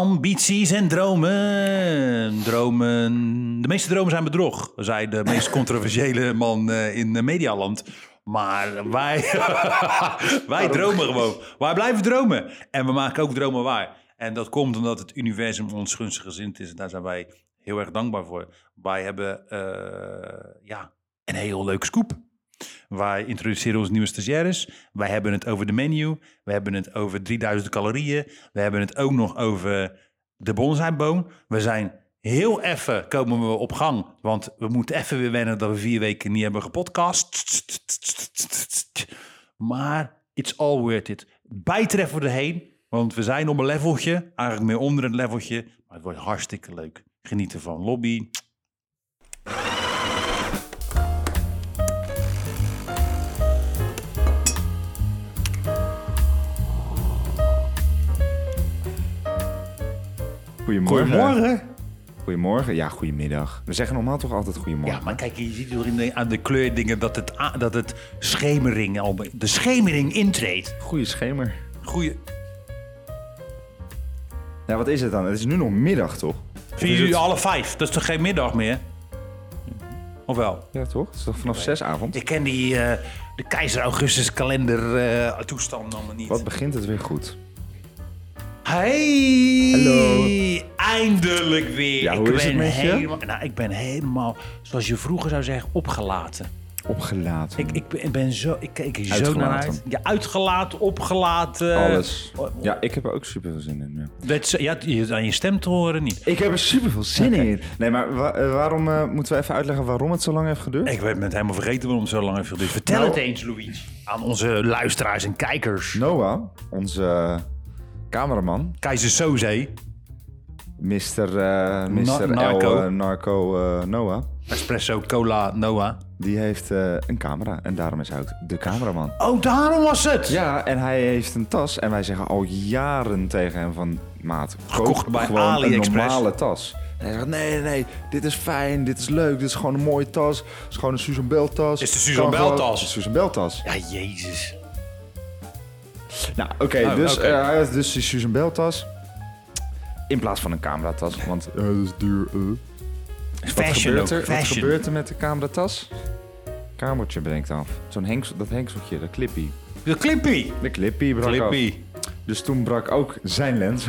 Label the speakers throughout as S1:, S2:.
S1: Ambities en dromen. Dromen. De meeste dromen zijn bedrog, zei de meest controversiële man eh, in eh, Medialand. Maar wij, wij dromen gewoon. Wij blijven dromen. En we maken ook dromen waar. En dat komt omdat het universum ons gunstig gezind is. En daar zijn wij heel erg dankbaar voor. Wij hebben eh, ja, een heel leuke scoop. Wij introduceren onze nieuwe stagiaires. Wij hebben het over de menu. We hebben het over 3000 calorieën. We hebben het ook nog over de bonsaiboom. We zijn heel even komen we op gang. Want we moeten even weer wennen dat we vier weken niet hebben gepodcast. Maar it's all worth it. Bijtreffen we erheen. Want we zijn op een leveltje. Eigenlijk meer onder het leveltje. Maar het wordt hartstikke leuk. Genieten van lobby.
S2: Goedemorgen.
S3: Goedemorgen.
S2: Goedemorgen. Ja, goedemiddag. We zeggen normaal toch altijd
S1: Ja,
S2: goedemorgen.
S1: maar kijk, je ziet door in de, aan de kleurdingen dat het, a- dat het schemering al... be- De schemering intreedt.
S2: Goeie schemer.
S1: Goeie...
S2: Ja, wat is het dan? Het is nu nog middag, toch?
S1: Vier uur, alle vijf. Dat is toch geen middag meer? Of wel?
S2: Ja, toch? Het is toch vanaf zes avond?
S1: Ik ken die eh, de keizer Augustus kalender eh, toestand allemaal niet.
S2: Wat begint het weer goed?
S1: Hey!
S2: Hallo.
S1: Eindelijk weer.
S2: Ja, hoe
S1: ik
S2: is het
S1: ben
S2: met je?
S1: helemaal, Nou, ik ben helemaal, zoals je vroeger zou zeggen, opgelaten.
S2: Opgelaten.
S1: Ik, ik, ben- ik ben zo, ik kijk er zo
S2: Uitgelaten.
S1: naar uit. Ja, uitgelaten, opgelaten.
S2: eh, Alles. Ja, ik heb er ook super veel zin in. Ja.
S1: Dat, is- ja, je- aan je stem te horen niet.
S2: Ik heb er super veel zin in. Nee, maar wa- eh, waarom eh, moeten we even uitleggen waarom het zo lang heeft geduurd?
S1: Ik ben het helemaal vergeten waarom het zo lang heeft geduurd. Dus Vertel
S2: Nou-
S1: het eens, Louis. Aan onze luisteraars en kijkers.
S2: Noah, onze eh, cameraman,
S1: Keizer Soze.
S2: Mr. eh Mr.
S1: narco.
S2: L, eh, narco eh, Noah,
S1: Espresso, cola, Noah.
S2: die heeft eh, een camera en daarom is hij ook de cameraman.
S1: Oh, daarom was het!
S2: Ja, en hij heeft een tas en wij zeggen al jaren tegen hem van maat, koop
S1: Gekocht bij
S2: gewoon een
S1: AliExpress.
S2: normale tas. En hij zegt nee, nee, nee, dit is fijn, dit is leuk, dit is gewoon een mooie tas, het is gewoon een Susan Bell tas.
S1: Is de Susan
S2: Kan gewoon-
S1: Bell tas?
S2: Is de Susan Bell tas.
S1: Ja, jezus.
S2: Nou, oké,
S1: Oh,
S2: dus
S1: oké.
S2: eh, hij heeft dus die Susan Bell tas in plaats van een cameratas, want eh, dat is duur. eh. Wat
S1: Fashion
S2: gebeurt, er,
S1: ook.
S2: wat
S1: Fashion.
S2: gebeurt er met de cameratas? Kamertje brengt af. Zo'n hengsel, dat hengseltje, dat clippy.
S1: De Clippy.
S2: De clippy brak af.
S1: Clippy.
S2: Dus toen brak ook zijn lens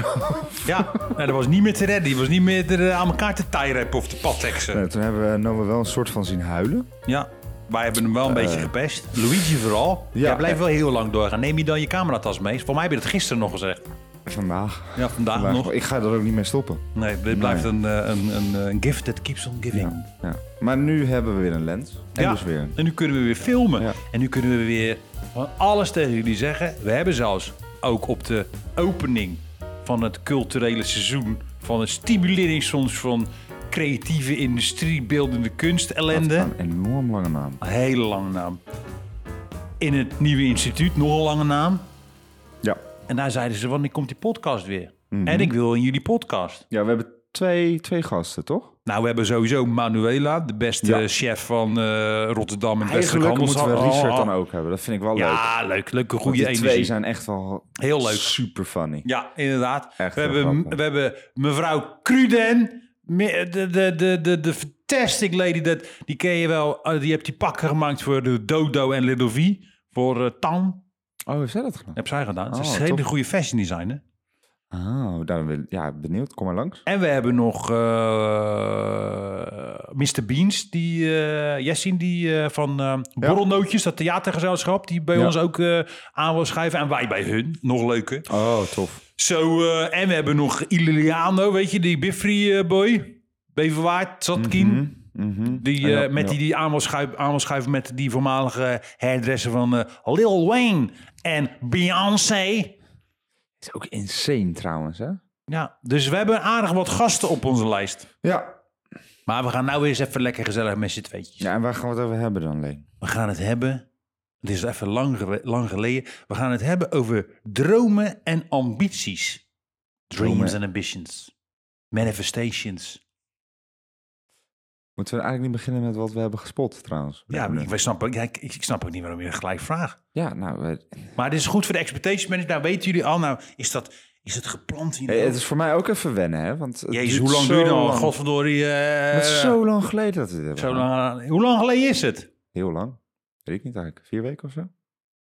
S1: Ja, nou, dat was niet meer te redden. Die was niet meer te, eh, aan elkaar te tie-rappen of te pattexen.
S2: Nou, toen hebben we Noah wel een soort van zien huilen.
S1: Ja, wij hebben hem wel een beetje gepest. Luigi vooral.
S2: Ja.
S1: Jij blijft wel heel lang doorgaan. Neem je dan je cameratas mee? Voor mij heb je dat gisteren nog gezegd.
S2: Vandaag.
S1: Ja, vandaag
S2: Vandaag
S1: Ah, nog.
S2: Ik ga er ook niet mee stoppen.
S1: Nee, dit blijft een, eh, een, een, eh, een gift that keeps on giving.
S2: Ja. Maar nu hebben we weer een lens. En dus weer.
S1: en nu kunnen we weer filmen.
S2: Ja.
S1: En nu kunnen we weer van alles tegen jullie zeggen. We hebben zelfs ook op de opening van het culturele seizoen... van het stimulering soms van creatieve industrie, beeldende kunst
S2: Wat
S1: ellende...
S2: een enorm lange naam.
S1: Een hele lange naam. In het nieuwe instituut, nog een lange naam.
S2: Ja.
S1: En daar zeiden ze, wanneer komt die podcast weer?
S2: Mhm.
S1: En ik wil in jullie podcast.
S2: Ja, we hebben twee, twee gasten, toch?
S1: Nou, we hebben sowieso Manuela, de beste
S2: Ja.
S1: chef van eh, Rotterdam en het Westelijk
S2: Eigenlijk moeten we
S1: Handels-
S2: Richard
S1: Oh,
S2: dan ook hebben. Dat vind ik wel leuk.
S1: Ja, leuk. Leuke,
S2: Want
S1: goede
S2: die
S1: energie.
S2: twee zijn echt wel
S1: Heel leuk.
S2: super funny.
S1: Ja, inderdaad.
S2: Echt
S1: we,
S2: heel
S1: hebben,
S2: grappig.
S1: we hebben mevrouw Cruden, me- de, de, de, de, de fantastic lady, dat, die ken je wel. Eh, die heeft die pakken gemaakt voor de Dodo en Little V, voor eh, Tan.
S2: Oh, heeft zij dat gedaan?
S1: Heb zij gedaan. Ze
S2: Oh,
S1: is een hele
S2: tof.
S1: goede fashion designer.
S2: Oh, daar ben ik ja, benieuwd. Kom maar langs.
S1: En we hebben nog eh Mr. Beans, die eh Jessin, die eh, van eh, Borrelnootjes, dat theatergezelschap, die bij
S2: Ja.
S1: ons ook eh, aan wil schuiven. En wij bij hun, nog leuker.
S2: Oh, tof.
S1: Zo, eh, en we hebben nog Iliano, weet je, die Biffrey eh, boy. Beverwaard, Zatkin.
S2: Mhm.
S1: Die,
S2: Ja,
S1: eh, met
S2: ja.
S1: die, die aan wil schuiven, aan wil schuiven met die voormalige hairdresser van eh, Lil Wayne en Beyoncé.
S2: Is ook insane trouwens, hè?
S1: Ja, dus we hebben aardig wat gasten op onze lijst.
S2: Ja.
S1: Maar we gaan nou eens even lekker gezellig met z'n tweetjes.
S2: Ja, en waar gaan we het over hebben dan, Leen?
S1: We gaan het hebben, het is even lang, gewe- lang geleden, we gaan het hebben over dromen en ambities. Dreams
S2: Dromen.
S1: and ambitions. Manifestations.
S2: Moeten we eigenlijk niet beginnen met wat we hebben gespot, trouwens?
S1: Ja, ik, wij snappen- ja, ik, ik snap ook niet waarom je dat gelijk vraagt.
S2: Ja, nou, we-
S1: Maar dit is goed voor de expectation manager. Nou weten jullie al, nou is dat, Is het geplant hier?
S2: Hey, het is voor mij ook even wennen, hè? Want het
S1: Jezus,
S2: duurt
S1: hoe lang
S2: zo
S1: duurt nou? Godverdorie. eh,
S2: Het is zo lang geleden dat we dit hebben
S1: zo
S2: gedaan.
S1: lang- Hoe lang geleden is het?
S2: Heel lang. Weet ik niet eigenlijk. Vier weken of zo?
S1: Het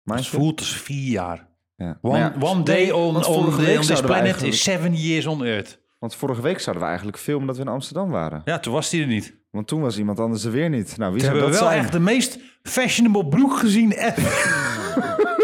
S2: Maandje?
S1: voelt als vier jaar.
S2: Ja.
S1: One,
S2: Maar Nou ja,
S1: one day
S2: nee,
S1: on,
S2: want
S1: on
S2: vorige
S1: the-
S2: week
S1: on this
S2: zouden we
S1: planet
S2: eigenlijk-
S1: is seven years on earth.
S2: Want vorige week zouden we eigenlijk filmen omdat we in Amsterdam waren.
S1: Ja, toen was hij er niet. Toen
S2: Want toen was iemand anders er weer niet. Nou, wie zou
S1: hebben
S2: dat
S1: we wel
S2: zijn?
S1: echt de meest fashionable broek gezien ever.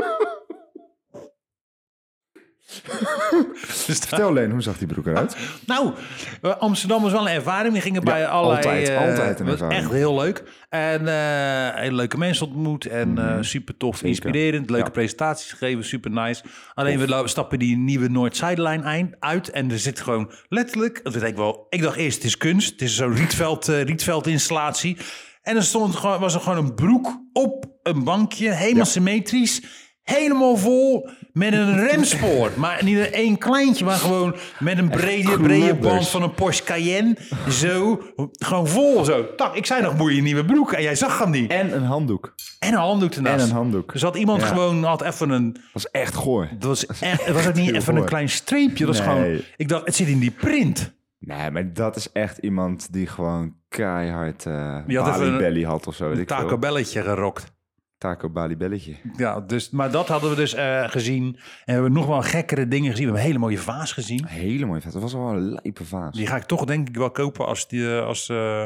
S1: Dus daar-
S2: Vertel Leen, hoe zag die broek eruit?
S1: Nou, eh, Amsterdam was wel een ervaring. We gingen bij allerlei...
S2: altijd,
S1: eh,
S2: altijd een
S1: was
S2: ervaring.
S1: Echt heel leuk. En eh, hele leuke mensen ontmoet. En eh, super tof, inspirerend. Leuke
S2: Mhm. Ja.
S1: presentaties gegeven, super nice. Alleen we lo- stappen die nieuwe Noord-Zijdelijn eind- uit. En er zit gewoon letterlijk... Dat weet ik, wel, ik dacht eerst, het is kunst. Het is zo'n rietveld, eh, rietveld-installatie. En er stond, gewoon- was er gewoon een broek op een bankje. Helemaal symmetrisch. Helemaal vol met een remspoor. Maar niet een één kleintje, maar gewoon met een brede, brede
S2: knobbers.
S1: band van een Porsche Cayenne. Zo, gewoon vol zo. Tak, ik zei nog, moet je een nieuwe broek? En jij zag hem niet.
S2: En een handdoek.
S1: En een handdoek ernaast.
S2: En een handdoek.
S1: Dus had iemand
S2: Ja.
S1: gewoon, had even een...
S2: Dat was echt goor.
S1: Het was, echt, het was ook niet
S2: Heel
S1: even een
S2: mooi.
S1: klein streepje. Dat was
S2: Nee.
S1: gewoon, ik dacht, het zit in die print.
S2: Nee, maar dat is echt iemand die gewoon keihard eh
S1: Die had even
S2: Bali
S1: een-
S2: Belly had of zo. Weet
S1: Een
S2: ik veel.
S1: Taco Belletje gerokt.
S2: Taco Bali Belletje.
S1: Ja, dus, maar dat hadden we dus eh, gezien. En we hebben nog wel gekkere dingen gezien. We hebben een hele mooie vaas gezien.
S2: Hele mooie vet. Dat was wel een lijpe vaas.
S1: Die ga ik toch denk ik wel kopen als, die, eh, als eh,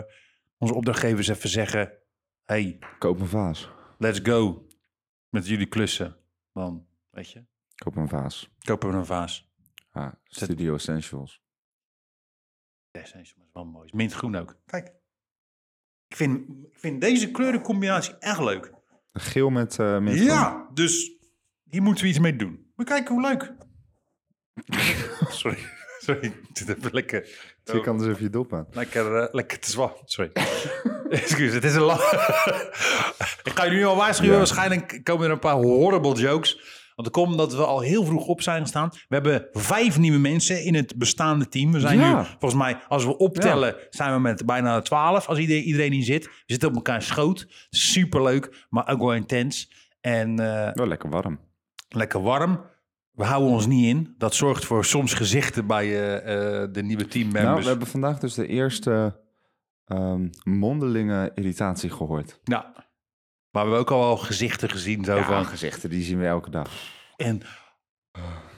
S1: onze opdrachtgevers even zeggen... hey,
S2: Koop een vaas.
S1: let's go met jullie klussen. Dan, weet je,
S2: Koop een vaas.
S1: kopen we een vaas.
S2: Ja, Studio Essentials.
S1: Deze is wel mooi. Mint groen ook. Kijk. Ik vind, ik vind deze kleurencombinatie echt leuk.
S2: Geel met eh mint.
S1: Ja, dus hier moeten we iets mee doen. We kijken hoe leuk. Sorry. Sorry, ik zit even lekker,
S2: Je kan dus even je dop aan.
S1: lekker, eh, lekker te zwak. Sorry. Excuus, het is een lang... ik ga je nu al waarschuwen.
S2: Ja.
S1: Waarschijnlijk komen er een paar horrible jokes. Want dat komt omdat we al heel vroeg op zijn gestaan. We hebben vijf nieuwe mensen in het bestaande team. We zijn
S2: Ja.
S1: nu, volgens mij, als we optellen, zijn we met bijna twaalf. Als iedereen, iedereen in zit. We zitten op elkaar schoot. Superleuk, maar ook wel intens. En eh,
S2: Wel lekker warm.
S1: lekker warm. We houden ons niet in. Dat zorgt voor soms gezichten bij eh, eh, de nieuwe
S2: Nou,
S1: teammembers.
S2: we hebben vandaag dus de eerste ehm, mondelinge irritatie gehoord.
S1: Ja. Maar we hebben ook al wel gezichten gezien. Zo van,
S2: gezichten, die zien we elke dag.
S1: en,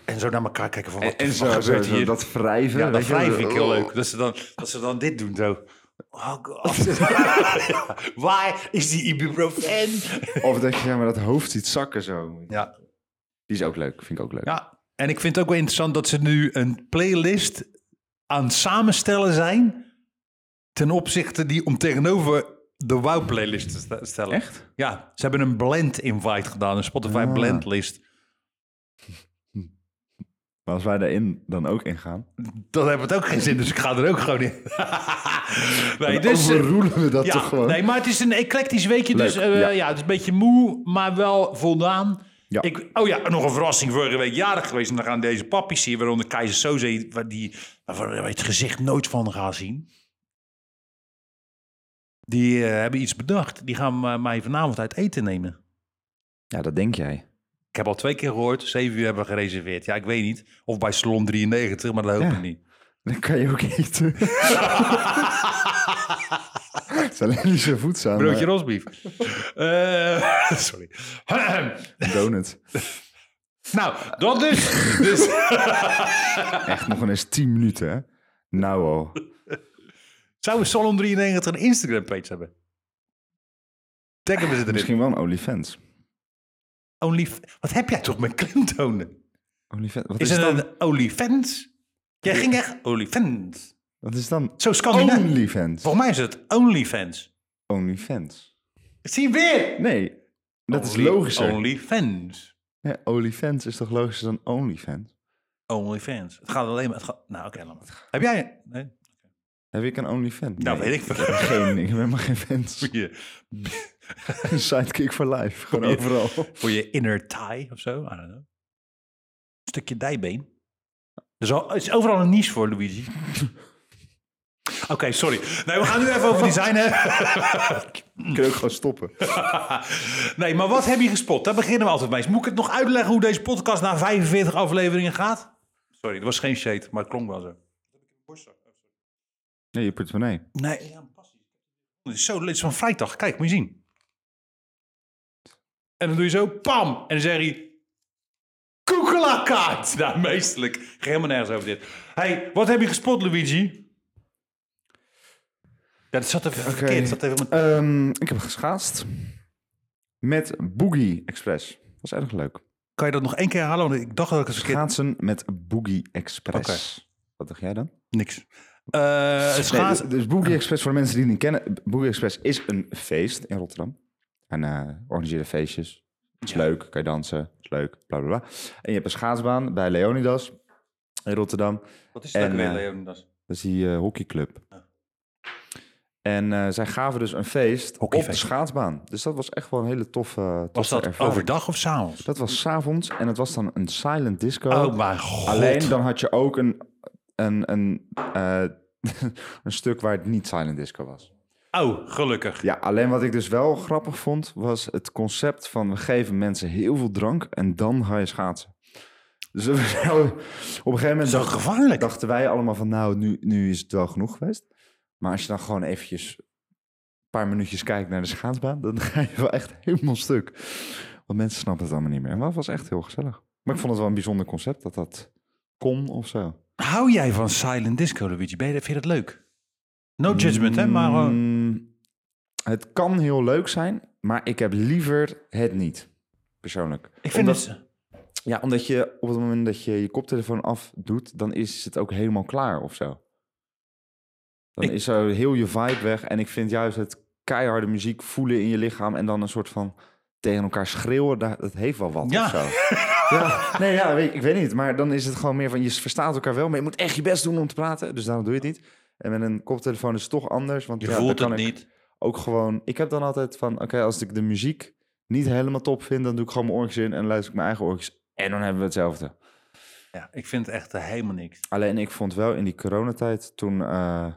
S1: en zo naar elkaar kijken van wat
S2: En,
S1: de
S2: en
S1: fuck
S2: zo, zo,
S1: gebeurt
S2: zo,
S1: hier.
S2: dat wrijven.
S1: ja, dat
S2: weet je,
S1: wrijf
S2: zo,
S1: ik heel
S2: oh.
S1: leuk. Dat ze, dan, dat ze dan dit doen zo. Oh god. Waar is die ibuprofen?
S2: oh. Of dat je ja, maar dat hoofd ziet zakken zo.
S1: Ja.
S2: Die is ook leuk, vind ik ook leuk.
S1: ja, en ik vind het ook wel interessant dat ze nu een playlist aan het samenstellen zijn... ten opzichte die om tegenover de WOW-playlist te sta- stellen.
S2: Echt?
S1: Ja, ze hebben een blend-invite gedaan, een Spotify
S2: Ah.
S1: blend-list.
S2: Maar als wij daarin dan ook ingaan,
S1: Dan heeft het ook geen zin, dus ik ga er ook gewoon in. nee,
S2: dan
S1: dus, eh,
S2: overroelen we dat
S1: ja,
S2: toch gewoon.
S1: nee, maar het is een eclectisch weekje, dus
S2: Leuk,
S1: eh, ja.
S2: ja.
S1: het is een beetje moe, maar wel voldaan.
S2: Ja.
S1: Ik, oh ja, nog een verrassing. Vorige week jarig geweest en dan gaan deze pappies hier, waaronder Keizer Soze, waar die, waarvan we het gezicht nooit van gaan zien. Die eh, hebben iets bedacht. Die gaan eh, mij vanavond uit eten nemen.
S2: Ja, dat denk jij.
S1: Ik heb al twee keer gehoord, zeven uur hebben we gereserveerd. Ja, ik weet niet. Of bij Salon 93, maar dat hoop
S2: Ja.
S1: ik niet.
S2: Dan kan je ook eten. Het is alleen niet zo voedzaam.
S1: Broodje
S2: maar
S1: rosbief. Eh, sorry.
S2: een donut.
S1: nou, dat dus. dus.
S2: Echt nog eens 10 minuten, hè? Nou al.
S1: Zou we Salon 93 een Instagram-page hebben? Taggen we ze erin.
S2: Misschien wel een OnlyFans.
S1: Only, wat heb jij toch met klemtonen?
S2: OnlyFans. Wat
S1: Is
S2: is,
S1: het
S2: dan,
S1: een OnlyFans? Jij ging echt OnlyFans.
S2: wat is dan
S1: Zo Scandinavisch.
S2: OnlyFans?
S1: Volgens mij is het OnlyFans.
S2: OnlyFans.
S1: Zie je weer?
S2: Nee, dat is
S1: Only-
S2: logischer.
S1: OnlyFans.
S2: Ja, OnlyFans is toch logischer dan OnlyFans?
S1: OnlyFans. Het gaat alleen maar... Het gaat, nou, oké, laat maar. Heb jij... Nee?
S2: Heb ik een OnlyFans?
S1: Nou,
S2: Nee,
S1: weet ik veel.
S2: heb Geen, ik heb helemaal geen fans.
S1: Hier.
S2: Een sidekick voor life. Gewoon
S1: Goeie.
S2: overal.
S1: Voor je inner thigh of zo. I don't know. Stukje dijbeen. Er is, al- er is overal een niche voor, Luigi. Oké, sorry. Nee, we gaan nu even over design hebben.
S2: Kun je ook gewoon stoppen.
S1: Nee, maar wat heb je gespot? Daar beginnen we altijd mee. Moet ik het nog uitleggen hoe deze podcast na 45 afleveringen gaat? Sorry, het was geen shade, maar het klonk wel zo.
S2: Nee, je portemonnee.
S1: Nee. Het is zo, het is van vrijdag. Kijk, moet je zien. En dan doe je zo, pam. En dan zeg je... Koekelakaart. Nou, meestelijk. Ging helemaal nergens over dit. hey, wat heb je gespot, Luigi? Ja, dat zat even verkeerd. Dat zat even met...
S2: Ehm, ik heb geschaatst met Boogie Express. Was erg leuk.
S1: Kan je dat nog één keer herhalen? Want ik dacht dat ik het verkeerd...
S2: Schaatsen met Boogie Express. Wat dacht jij dan?
S1: Niks. Eh schaats...
S2: Nee, dus Boogie Express, voor de mensen die het niet kennen. Boogie Express is een feest in Rotterdam. En eh organiseren feestjes. Is leuk, kan je dansen. Is leuk, bla bla bla. En je hebt een schaatsbaan bij Leonidas in Rotterdam.
S1: Wat is
S2: dat ook weer,
S1: Leonidas?
S2: Dat is die eh, hockeyclub. En eh, zij gaven dus een feest op de
S1: Hockeyfeest.
S2: schaatsbaan. Dus dat was echt wel een hele toffe, toffe
S1: Was dat
S2: ervaring.
S1: overdag of s'avonds?
S2: Dat was s'avonds en het was dan een silent disco.
S1: Oh mijn god.
S2: Alleen dan had je ook een, een, een, eh, een stuk waar het niet silent disco was.
S1: Oh, gelukkig.
S2: Ja, alleen wat ik dus wel grappig vond, was het concept van we geven mensen heel veel drank en dan ga je schaatsen. Dus dat was wel- op een gegeven moment
S1: Zo gevaarlijk.
S2: dachten wij allemaal van nou, nu, nu is het wel genoeg geweest. Maar als je dan gewoon eventjes een paar minuutjes kijkt naar de schaatsbaan, dan ga je wel echt helemaal stuk. Want mensen snappen het allemaal niet meer. En dat was echt heel gezellig. Maar ik vond het wel een bijzonder concept dat dat kon of zo.
S1: Hou jij van silent disco, Luigi? Ben je, vind je dat leuk? No judgment, hè? Maar eh, gewoon...
S2: Mm, Het kan heel leuk zijn, maar ik heb liever het niet. Persoonlijk.
S1: ik vind
S2: Omdat-
S1: het...
S2: Ja, omdat je op het moment dat je je koptelefoon afdoet, dan is het ook helemaal klaar of zo. Dan
S1: Ik-
S2: is zo heel je vibe weg. En ik vind juist het keiharde muziek voelen in je lichaam en dan een soort van tegen elkaar schreeuwen, daar- dat heeft wel wat
S1: Ja.
S2: of zo. ja, nee, ja, weet, ik weet niet. Maar dan is het gewoon meer van, je verstaat elkaar wel, maar je moet echt je best doen om te praten. Dus daarom doe je het niet. En met een koptelefoon is het toch anders. Want
S1: Je
S2: ja, dan
S1: voelt
S2: kan
S1: het
S2: ik
S1: niet.
S2: ook gewoon... Ik heb dan altijd van, oké, als ik de muziek niet helemaal top vind, dan doe ik gewoon mijn oortjes in en luister ik mijn eigen oortjes. En dan hebben we hetzelfde.
S1: Ja, ik vind het echt eh, helemaal niks.
S2: Alleen ik vond wel in die coronatijd, toen eh,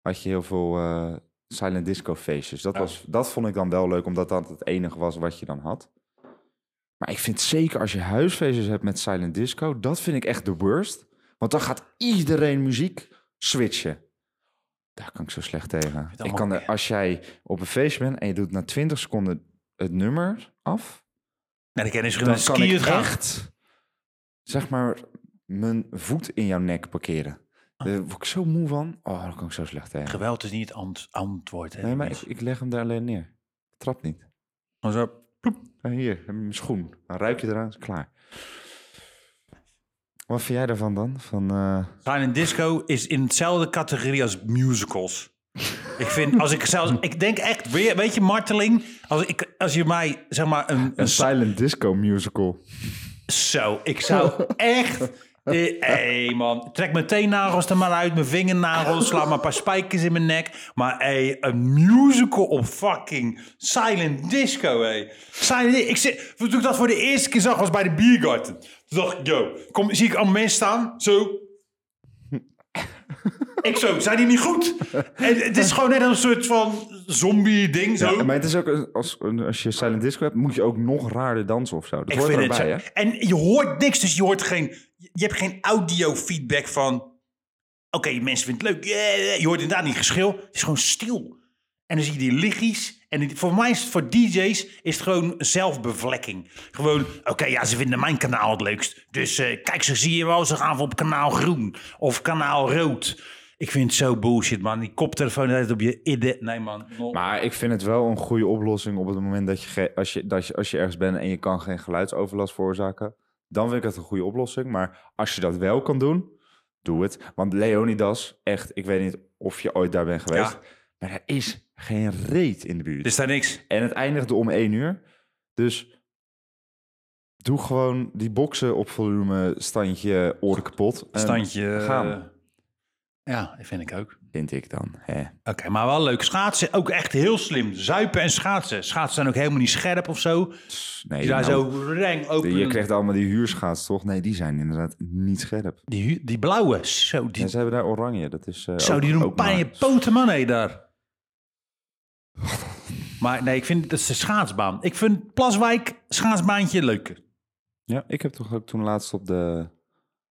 S2: had je heel veel eh, silent disco feestjes. Dat,
S1: Ja.
S2: was, dat vond ik dan wel leuk, omdat dat het enige was wat je dan had. Maar ik vind zeker als je huisfeestjes hebt met silent disco, dat vind ik echt de worst. Want dan gaat iedereen muziek switchen. Daar kan ik zo slecht tegen.
S1: het
S2: Ik
S1: allemaal-
S2: kan er, als jij op een feestje bent en je doet na 20 seconden het nummer af,
S1: Nou, dan kan je
S2: dan
S1: een
S2: kan
S1: skiën
S2: ik
S1: gaan.
S2: echt, zeg maar, mijn voet in jouw nek parkeren.
S1: Ah.
S2: Daar word ik zo moe van. Oh, daar kan ik zo slecht tegen.
S1: Geweld is niet het ant- antwoord, hè?
S2: Nee, maar ik,
S1: Luigi?
S2: ik leg hem daar alleen neer. Ik Trap niet.
S1: Gewoon zo... ploep.
S2: Ah, Hier, heb je mijn schoen. Dan ruik je eraan, is het klaar. Wat vind jij daarvan dan? Van, eh,
S1: Silent disco is in hetzelfde categorie als musicals. ik vind, als ik zelfs... Ik denk echt, weer, weet je, marteling. Als, ik, als je mij, zeg maar, een,
S2: een
S1: een
S2: silent disco musical.
S1: Zo, ik zou echt... Hé hey man, trek mijn teennagels er maar uit, mijn vingernagels, sla maar een paar spijkers in mijn nek. Maar hey, een musical op fucking silent disco, hé. Silent di- ik zit, Toen ik dat voor de eerste keer zag, was bij de Biergarten. Toen dacht ik, yo, kom, zie ik allemaal mensen staan, zo... ik zo, zijn die niet goed? En het is gewoon net een soort van zombie-ding, zo.
S2: Ja, maar het is ook, een- als, een- als je silent disco hebt, moet je ook nog raarder dansen of zo. Dat
S1: Ik
S2: hoort
S1: vind het
S2: erbij,
S1: zo.
S2: hè?
S1: En je hoort niks, dus je hoort geen... Je hebt geen audio feedback van... Oké, mensen vinden het leuk. yeah, yeah. Je hoort inderdaad niet geschil. Het is gewoon stil. En dan zie je die lichtjes. En die- voor mij is het, voor DJ's is het gewoon zelfbevlekking. Gewoon, oké, ja, ze vinden mijn kanaal het leukst. Dus eh, kijk, ze zie je wel, ze gaan voor op kanaal groen of kanaal rood. Ik vind het zo bullshit, man. Die koptelefoon heeft op je idde. Nee, man.
S2: Maar ik vind het wel een goede oplossing op het moment dat je, ge- als, je, dat je, als je ergens bent en je kan geen geluidsoverlast veroorzaken. Dan vind ik het een goede oplossing. Maar als je dat wel kan doen, doe het. Want Leonidas, echt, ik weet niet of je ooit daar bent geweest.
S1: Ja. Dus-
S2: Maar er is geen reet in de buurt.
S1: Er is daar niks.
S2: En het eindigde om één uur. Dus doe gewoon die boksen op volume, standje, oren kapot. En
S1: Standje.
S2: Ehm, gaan.
S1: Ja, dat vind ik ook.
S2: Vind ik dan. Hè.
S1: Oké, maar wel leuk. Schaatsen, ook echt heel slim. Zuipen en schaatsen. Schaatsen zijn ook helemaal niet scherp of zo.
S2: Nee,
S1: Die zijn
S2: nou,
S1: zo reng open.
S2: je krijgt allemaal die huurschaats, toch? Nee, die zijn inderdaad niet scherp.
S1: Die, hu- die blauwe, zo, die,
S2: Ja, ze hebben daar oranje. Dat is. eh,
S1: zo,
S2: ook-
S1: die doen
S2: ook
S1: pijn in je
S2: maar-
S1: poten, man, hé, daar. Maar nee, ik vind dat is de schaatsbaan. Ik vind Plaswijk schaatsbaantje leuker.
S2: Ja, ik heb toch ook toen laatst op de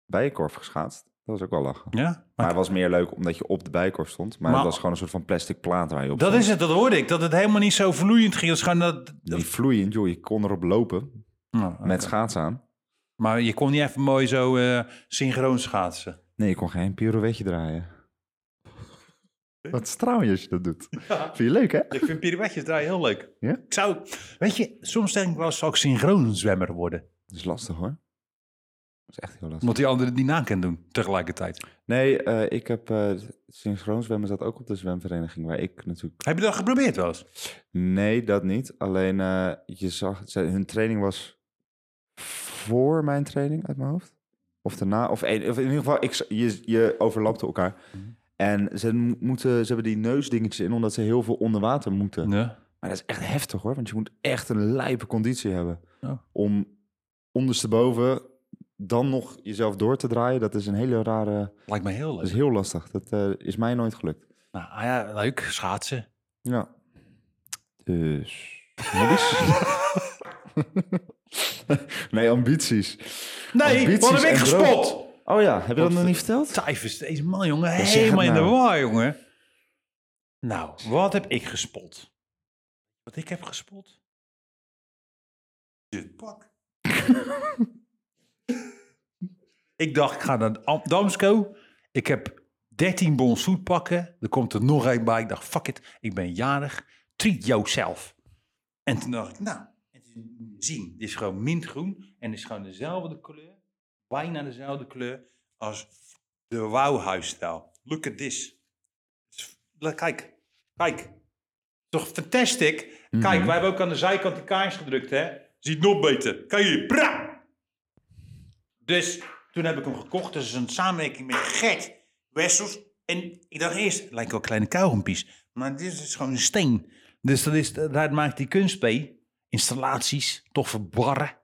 S2: bijenkorf geschaatst. Dat was ook wel lachen.
S1: Ja? Maar,
S2: Maar het was meer leuk omdat je op de bijenkorf stond. Maar,
S1: Maar-
S2: het was gewoon een soort van plastic plaat waar je op
S1: dat
S2: stond.
S1: is het, dat hoorde ik. Dat het helemaal niet zo vloeiend ging. Dat is gewoon dat... dat-
S2: Die vloeiend, joh. Je kon erop lopen
S1: Nou, oké.
S2: met schaats aan.
S1: Maar je kon niet even mooi zo eh, synchroon schaatsen.
S2: Nee, je kon geen pirouetje draaien. Wat straal je als je dat doet. Vind je leuk, hè?
S1: Ik vind pirouetjes draaien heel leuk.
S2: Ja?
S1: Ik zou... Weet je, soms denk ik wel, zal ik synchroon zwemmer worden?
S2: Dat is lastig, hoor. Dat is echt heel lastig.
S1: Omdat die anderen het niet na kan doen tegelijkertijd.
S2: Nee, eh, ik heb eh synchroon zwemmen zat ook op de zwemvereniging waar ik natuurlijk...
S1: Heb je dat geprobeerd wel eens?
S2: Nee, dat niet. Alleen, eh, je zag, zij- hun training was voor mijn training uit mijn hoofd. Of daarna, of, een- of in ieder geval, ik, z- je, je overlapte elkaar.
S1: Mhm.
S2: En ze, mo- moeten, ze hebben die neusdingetjes in omdat ze heel veel onder water moeten.
S1: Ja.
S2: Maar dat is echt heftig hoor, want je moet echt een lijpe conditie hebben.
S1: Ja.
S2: Om ondersteboven dan nog jezelf door te draaien, dat is een hele rare...
S1: Lijkt me heel
S2: Dat is
S1: leuk.
S2: heel lastig. Dat eh, is mij nooit gelukt.
S1: Nou ah ja, leuk. Schaatsen.
S2: Ja. Dus... hobby's? nee, ambities.
S1: Nee,
S2: Ambities
S1: wat heb ik
S2: en dromen.
S1: gespot?
S2: Oh ja, heb je dat nog niet verteld?
S1: Cijfers, deze man, jongen.
S2: Ja, zeg het
S1: helemaal in de
S2: nou.
S1: war, jongen. Nou, wat heb ik gespot? Wat ik heb gespot? Dit pak. ik dacht, ik ga naar Am- Damsco. Ik heb 13 bonsoet pakken. Er komt er nog één bij. Ik dacht, fuck it, ik ben jarig. Treat yourself. En toen dacht ik, nou, het is zien. Het is gewoon mintgroen en het is gewoon dezelfde kleur. Bijna dezelfde kleur als de Wauwhuisstijl. Look at this. La- Kijk, kijk. Toch fantastic? Kijk, wij hebben ook aan de zijkant die kaars gedrukt, hè? Ziet nog beter. Kijk hier, pra! Dus toen heb ik hem gekocht. Dat is een samenwerking met Gert Wessels. En ik dacht eerst, het lijkt wel kleine kauwgompies. Maar dit is gewoon een steen. Dus dat is, daar maakt die kunst mee. Installaties, toffe barren.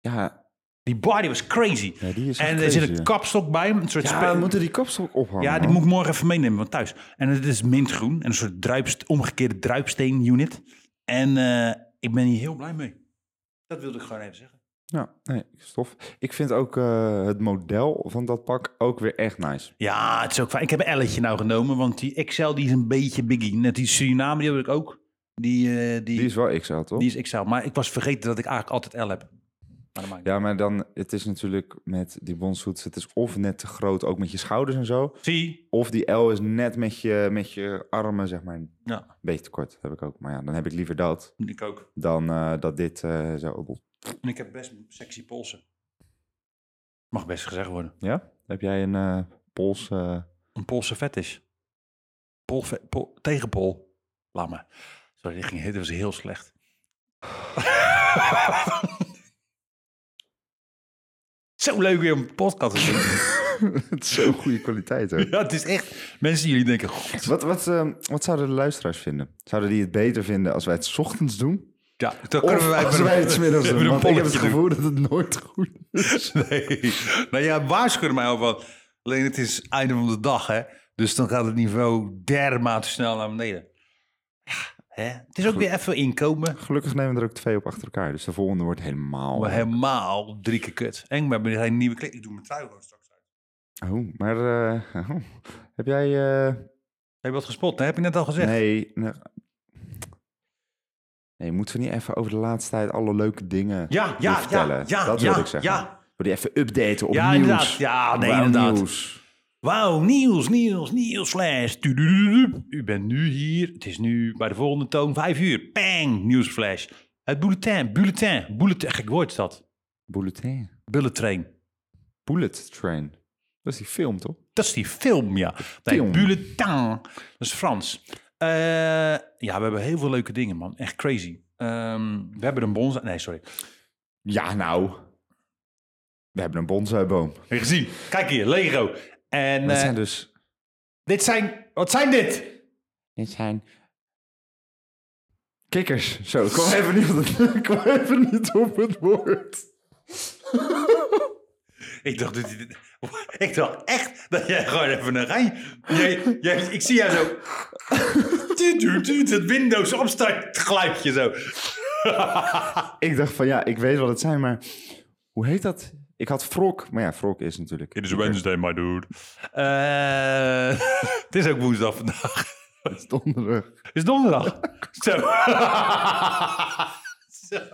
S2: Ja,
S1: Die bar die was crazy.
S2: Ja, die is echt
S1: en er
S2: crazy,
S1: zit
S2: ja.
S1: een kapstok bij, een soort
S2: ja
S1: spe-
S2: we moeten die kapstok ophangen.
S1: ja, die
S2: man.
S1: moet ik morgen even meenemen van thuis. En het is mintgroen. En een soort druipst, omgekeerde druipsteen-unit. En eh, ik ben hier heel blij mee. Dat wilde ik gewoon even zeggen.
S2: Ja, nee, stof. Ik vind ook eh, het model van dat pak ook weer echt nice.
S1: Ja, het is ook fijn. Ik heb een L'tje nou genomen, want die XL die is een beetje biggie. Net die Suriname, die heb ik ook. Die, eh, die,
S2: Die is wel XL, toch?
S1: die is XL. Maar ik was vergeten dat ik eigenlijk altijd L heb. Maar dat maakt niet
S2: Ja, maar dan, het is natuurlijk met die bonsuits, het is of net te groot, ook met je schouders en zo.
S1: uit. Zie?
S2: Of die L is net met je, met je armen, zeg maar, een
S1: Ja,
S2: beetje te kort. Heb ik ook. Maar ja, dan heb ik liever dat
S1: ik ook.
S2: dan eh, dat dit eh, zo...
S1: En ik heb best sexy polsen. Mag best gezegd worden.
S2: Ja? Heb jij een eh, pols... eh,
S1: Een Poolse fetish. Pol, fe- pol, tegen Pol. Laat maar. Sorry, dit, ging, dit was heel slecht. Zo leuk weer om een podcast te doen.
S2: het is zo'n goede kwaliteit, hoor.
S1: ja, het is echt... Mensen, jullie denken... God,
S2: Wat, wat, eh, wat zouden de luisteraars vinden? Zouden die het beter vinden als wij het 's ochtends doen?
S1: ja, dan
S2: Of
S1: kunnen wij...
S2: als wij het 's middags
S1: even
S2: doen?
S1: een
S2: Want ik heb het
S1: polletje doen.
S2: gevoel dat het nooit goed is.
S1: Nee. Nou ja, waarschuwde mij al van... Alleen het is einde van de dag, hè. Dus dan gaat het niveau dermate snel naar beneden. Ja, hè. Het is ook weer even inkomen.
S2: Gelukkig nemen we er ook twee op achter elkaar. Dus de volgende wordt helemaal...
S1: Maar helemaal drie keer kut. En ik ben met een nieuwe kleding. Ik doe mijn trui gewoon straks uit.
S2: Oh, maar eh, oh. heb jij... eh,
S1: Heb je wat gespot? hè? Heb je net al gezegd?
S2: Nee, nee. Nee, moeten we niet even over de laatste tijd alle leuke dingen
S1: Ja,
S2: die
S1: ja,
S2: vertellen?
S1: ja, ja.
S2: dat
S1: ja,
S2: wilde ik zeggen.
S1: Ja,
S2: Wil je even updaten op
S1: ja
S2: nieuws?
S1: inderdaad. Ja, nee,
S2: Wauw,
S1: inderdaad.
S2: nieuws.
S1: Wauw, nieuws, nieuws, nieuwsflash. Tududududu. U bent nu hier. Het is nu bij de volgende toon vijf uur. Pang, nieuwsflash. Het bulletin, bulletin, bulletin. Gek woord is dat.
S2: Bulletin.
S1: Bulletrain.
S2: Bullet Train. Dat is die film, toch?
S1: Dat is die film, ja. Nee,
S2: Film.
S1: bulletin. Dat is Frans. Eh, ja, we hebben heel veel leuke dingen, man. Echt crazy. Ehm, we hebben een bonsai... Nee, sorry.
S2: Ja, nou. We hebben een bonsaiboom.
S1: Heb je gezien? Kijk hier, Lego. En
S2: Dat
S1: eh,
S2: zijn dus...
S1: dit zijn... Wat zijn dit?
S2: Dit zijn... Kikkers. Zo, ik kwam even niet op het, ik kwam even niet op het woord.
S1: Ik dacht, dat dit- ik dacht echt dat jij gewoon even een rij... Jij, jij, ik zie jou zo... Tuut, tuut, tuut, Het Windows opstart geluidje zo.
S2: Ik dacht van, ja, ik weet wat het zijn, maar... Hoe heet dat? Ik had frok, maar ja, frok is natuurlijk...
S1: It is Wednesday, my dude. Eh, het is ook woensdag vandaag.
S2: Het is donderdag.
S1: Het is donderdag. Zo. Zo.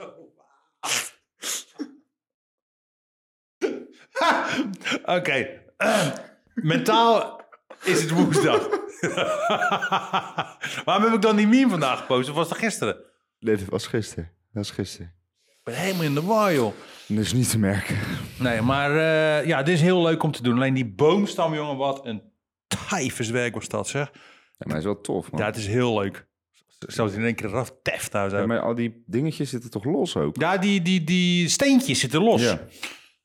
S1: Oké. Eh, mentaal is het woensdag. Waarom heb ik dan die meme vandaag gepost? Of was dat gisteren?
S2: Nee, dat was gisteren. Dat was gisteren.
S1: Ik ben helemaal in de war, joh.
S2: Dus niet te merken.
S1: Nee, maar eh, ja, dit is heel leuk om te doen. Alleen die boomstam, jongen, wat een tyfuswerk was dat, zeg.
S2: Ja, maar het is wel tof, man.
S1: Ja, het is heel leuk. Zelfs in één keer raf teft nou zo.
S2: Ja, maar al die dingetjes zitten toch los ook?
S1: Ja, die, die, die steentjes zitten los.
S2: Ja.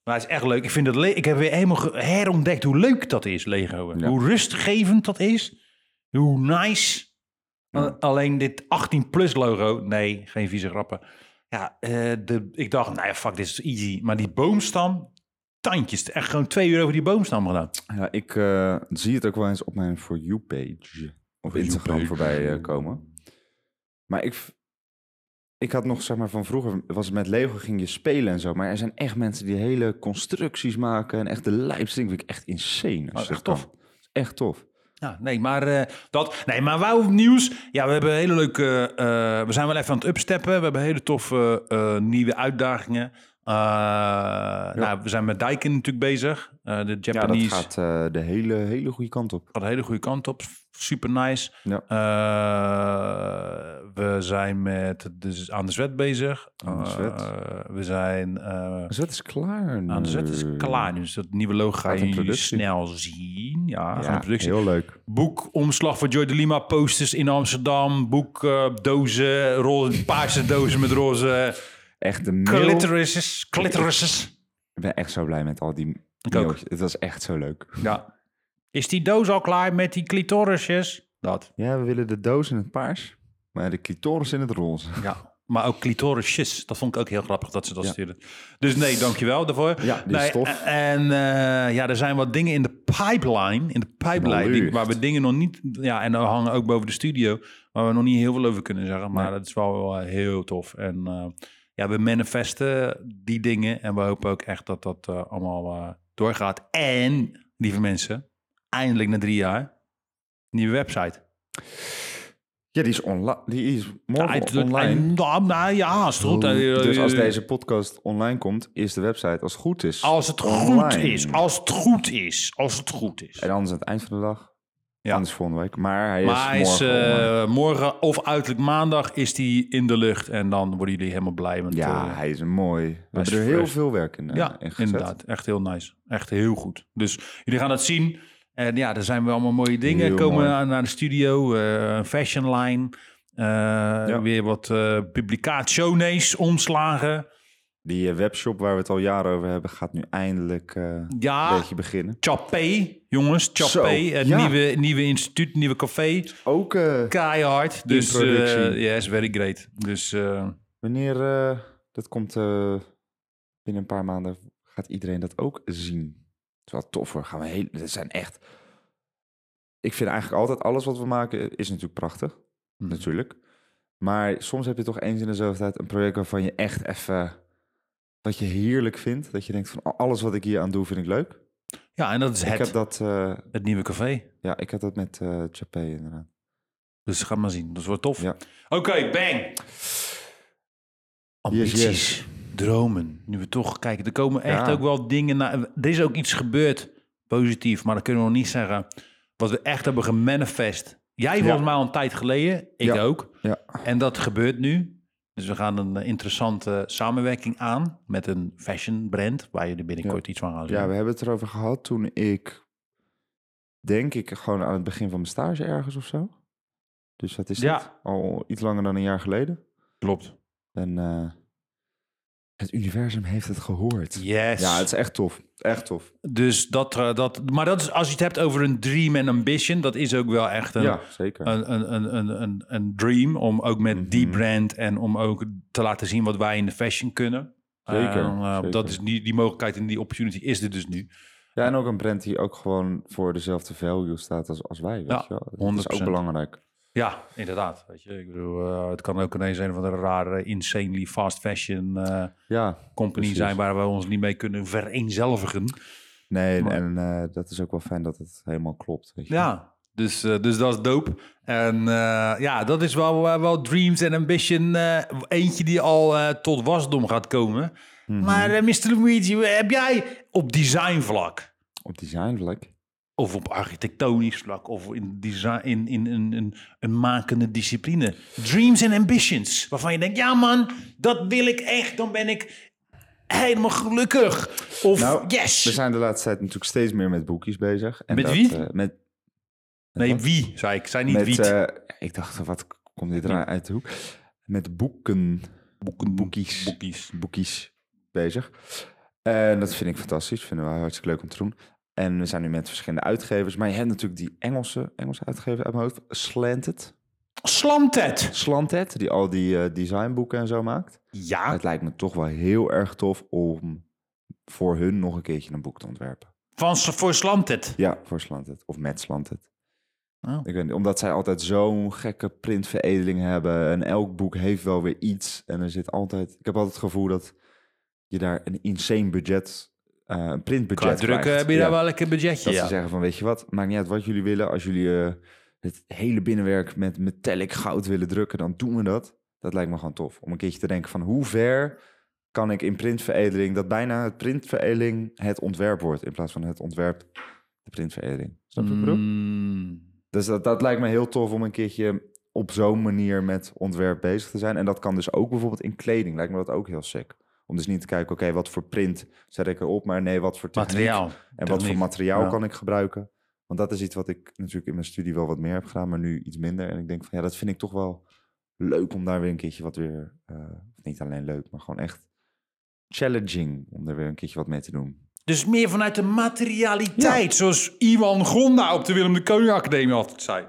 S1: Maar het is echt leuk. Ik, vind het le- ik heb weer helemaal ge- herontdekt hoe leuk dat is, Lego.
S2: Ja.
S1: Hoe rustgevend dat is. Hoe nice.
S2: Ja.
S1: A- Alleen dit 18-plus logo. Nee, geen vieze grappen. Ja, eh, de, ik dacht, nou ja, fuck, dit is easy. Maar die boomstam, tandjes. Echt gewoon twee uur over die boomstam gedaan.
S2: Ja, ik eh, zie het ook wel eens op mijn For You-page op
S1: You
S2: Instagram
S1: page.
S2: voorbij eh, komen. Maar ik, v- ik had nog, zeg maar, van vroeger was het met Lego ging je spelen en zo. Maar er zijn echt mensen die hele constructies maken en echt de lijpste dingen. Vind ik echt insane.
S1: Oh,
S2: Als je
S1: echt
S2: dat
S1: tof.
S2: kan. Echt tof.
S1: Ja, nee, maar eh, dat. Nee, maar wauw nieuws. Ja, we hebben hele leuke. eh, we zijn wel even aan het upsteppen. We hebben hele toffe eh, nieuwe uitdagingen. Eh, Nou, we zijn met Daikin natuurlijk bezig. Eh, de
S2: Ja, dat
S1: Japanese gaat...
S2: gaat eh, de hele, hele goede kant op.
S1: de hele goede kant op. Super nice.
S2: Ja.
S1: Eh, we zijn met dus aan de zwet bezig.
S2: Aan de Zwet.
S1: Eh, we zijn eh,
S2: Dus dat is klaar.
S1: aan de zwet Nou, is
S2: nu.
S1: klaar. Dus dat nieuwe logo ga
S2: Gaat in
S1: je jullie
S2: productie.
S1: snel zien. Ja, gaat in
S2: Ja,
S1: productie.
S2: heel leuk.
S1: Boek omslag voor Joy de Lima posters in Amsterdam. Boek eh, dozen, roze, paarse dozen met roze
S2: Echt de mail.
S1: clitorises. clitorises.
S2: Ik ben echt zo blij met al die
S1: Ik ook.
S2: mailtjes. Het was echt zo leuk.
S1: Ja. Is die doos al klaar met die clitorisjes? Dat.
S2: Ja, we willen de doos in het paars, maar de clitoris in het roze.
S1: Ja. Maar ook clitorisjes. Dat vond ik ook heel grappig dat ze dat
S2: Ja.
S1: stuurden. Dus nee, dankjewel daarvoor.
S2: Ja, die is
S1: Nee,
S2: tof.
S1: En eh, ja, er zijn wat dingen in de pipeline. In de pipeline. die-
S2: Wellicht.
S1: waar we dingen nog niet... Ja, en er hangen ook boven de studio. Waar we nog niet heel veel over kunnen zeggen. Maar
S2: Nee.
S1: dat is wel eh, heel tof. En eh, ja, we manifesten die dingen. En we hopen ook echt dat dat eh, allemaal eh, doorgaat. En, lieve mensen. Eindelijk na drie jaar. Nieuwe website.
S2: Ja, die is, onla- die is morgen
S1: Ja, het-
S2: online.
S1: Nou, nou ja, haast goed. eh,
S2: Dus als deze podcast online komt, is de website als het goed is.
S1: Als het goed
S2: Online.
S1: is. Als het goed is. Als het goed is.
S2: En anders aan het eind van de dag.
S1: Ja.
S2: Anders volgende week. Maar hij
S1: Maar hij
S2: is
S1: is
S2: morgen
S1: eh,
S2: online.
S1: morgen of uiterlijk maandag is die in de lucht. En dan worden jullie helemaal blij. Want,
S2: Ja,
S1: eh,
S2: hij is mooi. We
S1: is
S2: hebben er heel
S1: fresh.
S2: veel werk in, eh,
S1: ja
S2: in gezet.
S1: inderdaad. Echt heel nice. Echt heel goed. Dus jullie gaan dat zien. En ja, er zijn wel allemaal mooie dingen.
S2: Heel
S1: Komen
S2: mooi.
S1: Naar, naar de studio. eh, een fashion line. eh, Weer wat eh publicaat shownees, omslagen.
S2: Die eh, webshop waar we het al jaren over hebben, gaat nu eindelijk eh, een
S1: Ja,
S2: beetje beginnen.
S1: Chappé, jongens.
S2: Zo,
S1: Chappé. Het
S2: ja.
S1: nieuwe, nieuwe instituut, nieuwe café.
S2: Ook eh,
S1: Keihard. Dus eh
S2: productie.
S1: yes, very great. Dus eh,
S2: wanneer, eh, dat komt eh, binnen een paar maanden, gaat iedereen dat ook zien. Het is wel tof hoor. Gaan we heel, er zijn echt... Ik vind eigenlijk altijd alles wat we maken is natuurlijk prachtig.
S1: Mhm.
S2: Natuurlijk. Maar soms heb je toch eens in de zoveel tijd een project waarvan je echt even... Wat je heerlijk vindt. Dat je denkt van alles wat ik hier aan doe vind ik leuk.
S1: ja, en dat is
S2: Ik
S1: het,
S2: heb dat, eh,
S1: het nieuwe café.
S2: ja, ik heb dat met eh Chappé inderdaad.
S1: Dus ga maar zien. Dat wordt tof.
S2: Ja.
S1: Oké, bang. Ambities,
S2: yes.
S1: dromen. Nu we toch kijken, er komen echt
S2: Ja.
S1: ook wel dingen naar. Er is ook iets gebeurd, positief, maar dat kunnen we nog niet zeggen. Wat we echt hebben gemanifest. Jij volgens mij al een tijd geleden, ik
S2: Ja.
S1: ook.
S2: Ja.
S1: En dat gebeurt nu. Dus we gaan een eh, interessante samenwerking aan met een fashion brand, waar jullie binnenkort iets van gaan zien.
S2: Ja, we hebben het erover gehad toen ik, denk ik, gewoon aan het begin van mijn stage ergens of zo. Dus dat is
S1: Ja.
S2: dat? al iets langer dan een jaar geleden.
S1: Klopt.
S2: En eh, het universum heeft het gehoord.
S1: Yes.
S2: Ja, het is echt tof. Echt tof.
S1: Dus dat, eh, dat, maar dat is, als je het hebt over een dream en ambition, dat is ook wel echt een,
S2: ja, zeker.
S1: een, een, een, een, een, een dream om ook met die
S2: Mhm.
S1: brand en om ook te laten zien wat wij in de fashion kunnen.
S2: Zeker,
S1: En, eh,
S2: zeker.
S1: Dat is die, die mogelijkheid en die opportunity is er dus nu.
S2: ja, en ook een brand die ook gewoon voor dezelfde value staat als, als wij. Weet
S1: Ja,
S2: je wel? Dat is
S1: 100%.
S2: ook belangrijk.
S1: Ja, inderdaad. Weet je, ik bedoel, eh, het kan ook ineens een van de rare, insanely fast fashion eh,
S2: Ja,
S1: company
S2: Precies.
S1: zijn waar we ons niet mee kunnen vereenzelvigen.
S2: nee,
S1: Maar-
S2: en eh, dat is ook wel fijn dat het helemaal klopt. Weet je.
S1: Ja, dus, eh, dus dat is dope. En eh, ja, dat is wel, eh, wel Dreams and Ambition. eh, eentje die al eh, tot wasdom gaat komen.
S2: Mhm.
S1: Maar eh, Mr. Luigi, heb jij op designvlak...
S2: Op designvlak.
S1: Of op architectonisch vlak, of in, design, in, in, in, een- een makende discipline. Dreams and ambitions. Waarvan je denkt, ja man, dat wil ik echt. Dan ben ik helemaal gelukkig. Of
S2: Nou,
S1: yes.
S2: We zijn de laatste tijd natuurlijk steeds meer met boekjes bezig. En
S1: Met
S2: dat,
S1: wie?
S2: eh, met
S1: nee, wie, zei ik. Zei niet
S2: met,
S1: wiet.
S2: eh, ik dacht, wat komt dit ra- uit de hoek? Met boeken,
S1: boeken,
S2: boekies.
S1: boekies.
S2: boekies bezig. En dat vind ik fantastisch. Vinden we hartstikke leuk om te doen. En we zijn nu met verschillende uitgevers. Maar je hebt natuurlijk die Engelse, Engelse uitgever uit mijn hoofd. Slanted.
S1: Slanted.
S2: Slanted, die al die eh, designboeken en zo maakt.
S1: Ja,
S2: Het lijkt me toch wel heel erg tof om voor hun nog een keertje een boek te ontwerpen.
S1: van, voor Slanted.
S2: Ja, voor Slanted. Of met Slanted.
S1: Oh.
S2: Ik weet niet, omdat zij altijd zo'n gekke printveredeling hebben. En elk boek heeft wel weer iets. En er zit altijd... Ik heb altijd het gevoel dat je daar een insane budget... eh, een printbudget
S1: Qua drukken
S2: krijgt.
S1: heb je
S2: Ja.
S1: daar wel lekker budgetje.
S2: Dat ze
S1: Ja.
S2: zeggen van, weet je wat? Maakt niet uit wat jullie willen. Als jullie eh, het hele binnenwerk met metallic goud willen drukken, dan doen we dat. Dat lijkt me gewoon tof. Om een keertje te denken van, hoe ver kan ik in printveredeling... dat bijna het printveredeling het ontwerp wordt... in plaats van het ontwerp de printveredeling. Snap je wat ik bedoel?
S1: Mm.
S2: Dus dat, dat lijkt me heel tof om een keertje op zo'n manier met ontwerp bezig te zijn. En dat kan dus ook bijvoorbeeld in kleding. Lijkt me dat ook heel sick. Om dus niet te kijken, oké, wat voor print zet ik erop? Maar nee, wat voor techniek
S1: Materiaal.
S2: en wat voor
S1: Techniek.
S2: materiaal
S1: Ja.
S2: kan ik gebruiken? Want dat is iets wat ik natuurlijk in mijn studie wel wat meer heb gedaan, maar nu iets minder. En ik denk van ja, dat vind ik toch wel leuk om daar weer een keertje wat weer. eh, niet alleen leuk, maar gewoon echt challenging om daar weer een keertje wat mee te doen.
S1: Dus meer vanuit de materialiteit, zoals Iwan Gonda op de Willem de Koning Academie altijd zei.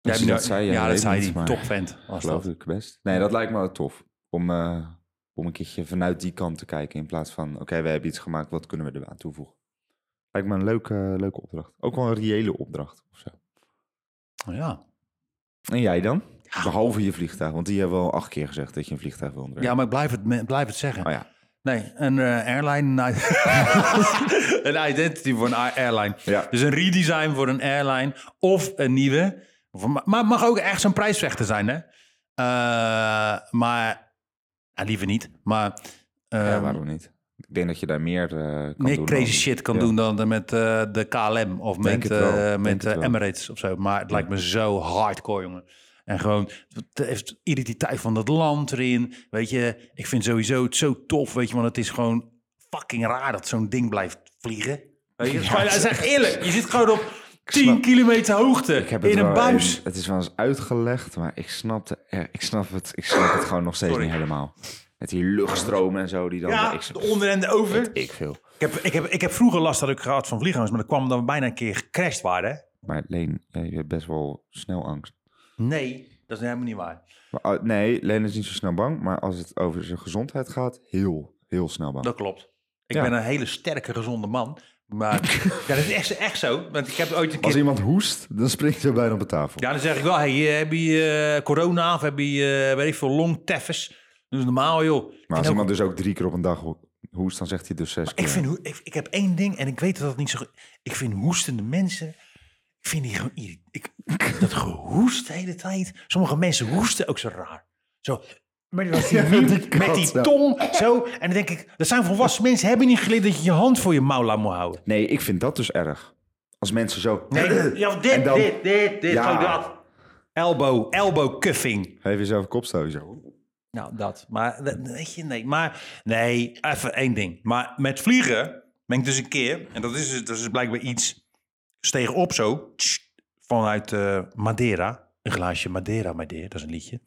S2: Dus
S1: hebt
S2: dat zei jij,
S1: ja,
S2: weet
S1: dat
S2: ik
S1: zei
S2: niet,
S1: hij.
S2: maar-
S1: Topvent was
S2: Geloof
S1: dat.
S2: ik best. Nee, dat lijkt me wel tof. Om, eh, om een keertje vanuit die kant te kijken in plaats van oké, we hebben iets gemaakt, wat kunnen we er aan toevoegen? Lijkt me een leuke, leuke opdracht. Ook wel een reële opdracht of zo.
S1: Ja.
S2: En jij dan? Behalve je vliegtuig, want die hebben we al acht keer gezegd dat je een vliegtuig wil ontwerpen.
S1: ja, maar ik blijf het, me- blijf het zeggen.
S2: Oh ja.
S1: Nee, een eh, airline. een i- een identity voor een i- airline.
S2: Ja.
S1: Dus een redesign voor een airline of een nieuwe. Of een- Maar het mag ook echt zo'n prijsvechter zijn, hè? Eh, maar ja, liever niet. Maar
S2: Ja,
S1: ehm,
S2: waarom niet? Ik denk dat je daar meer eh, kan
S1: meer
S2: doen.
S1: crazy
S2: dan-
S1: shit kan
S2: Ja.
S1: doen dan de- met eh, de KLM of
S2: Denk
S1: met,
S2: het wel,
S1: eh,
S2: denk
S1: met
S2: het
S1: eh,
S2: wel.
S1: Emirates of zo. Maar het lijkt me zo hardcore, jongen. En gewoon, het heeft identiteit van dat land erin. Weet je, ik vind sowieso het zo tof, weet je, want het is gewoon fucking raar dat zo'n ding blijft vliegen. Weet je, ja, zeg eerlijk, je zit gewoon op 10
S2: snap-
S1: kilometer hoogte
S2: Ik heb het
S1: in een
S2: wel
S1: buis.
S2: eens- het is wel eens uitgelegd, maar ik snap, de, eh, ik snap, het, ik snap het gewoon nog steeds
S1: Sorry.
S2: niet helemaal. Met die luchtstromen en zo, die dan...
S1: Ja,
S2: ik,
S1: de onder en de over.
S2: weet ik veel.
S1: Ik heb, ik, heb, ik heb vroeger last dat ik gehad van vliegangst, maar dat kwam omdat we bijna een keer gecrashed waren. hè.
S2: Maar Leen, eh, je hebt best wel snel angst.
S1: Nee, dat is helemaal niet waar.
S2: Maar, ah, nee, Leen is niet zo snel bang, maar als het over zijn gezondheid gaat, heel, heel snel bang.
S1: Dat klopt. Ik
S2: Ja.
S1: ben een hele sterke, gezonde man. Maar ja, dat is echt, echt zo. Want ik heb ooit een
S2: Als
S1: keer...
S2: iemand hoest, dan springt ze bijna op de tafel.
S1: Ja, dan zeg ik wel, hey, eh, heb je eh, corona of heb je, eh, weet ik veel, long teffes? Dat is normaal, joh.
S2: Maar
S1: En
S2: als
S1: ook-
S2: iemand dus ook drie keer op een dag ho- hoest, dan zegt hij dus zes keer.
S1: ik, vind, hoe- ik, ik heb één ding, en ik weet dat dat niet zo... goed- Ik vind hoestende mensen... Ik vind die gewoon... irri- Ik, dat gehoest de hele tijd. Sommige mensen hoesten ook zo raar. Zo... Met die,
S2: Ja,
S1: meme,
S2: die
S1: met
S2: kat,
S1: die
S2: ja.
S1: tong, zo. En dan denk ik, dat zijn volwassen mensen. Hebben niet geleerd dat je je hand voor je mouw laat moet houden?
S2: Nee, ik vind dat dus erg. Als mensen zo...
S1: Nee, ja,
S2: En
S1: dit,
S2: dan-
S1: dit, dit, dit,
S2: Ja.
S1: gewoon dat. Elbow, elbow cuffing.
S2: Geef jezelf een kopstootje. zo.
S1: Nou, dat. Maar, dat- weet je, nee. Maar, nee, even één ding. Maar met vliegen ben ik dus een keer... En dat is, dus- dat is blijkbaar iets... Stegen op zo, tss, vanuit eh, Madeira. Een glaasje Madeira, Madeira, dat is een liedje.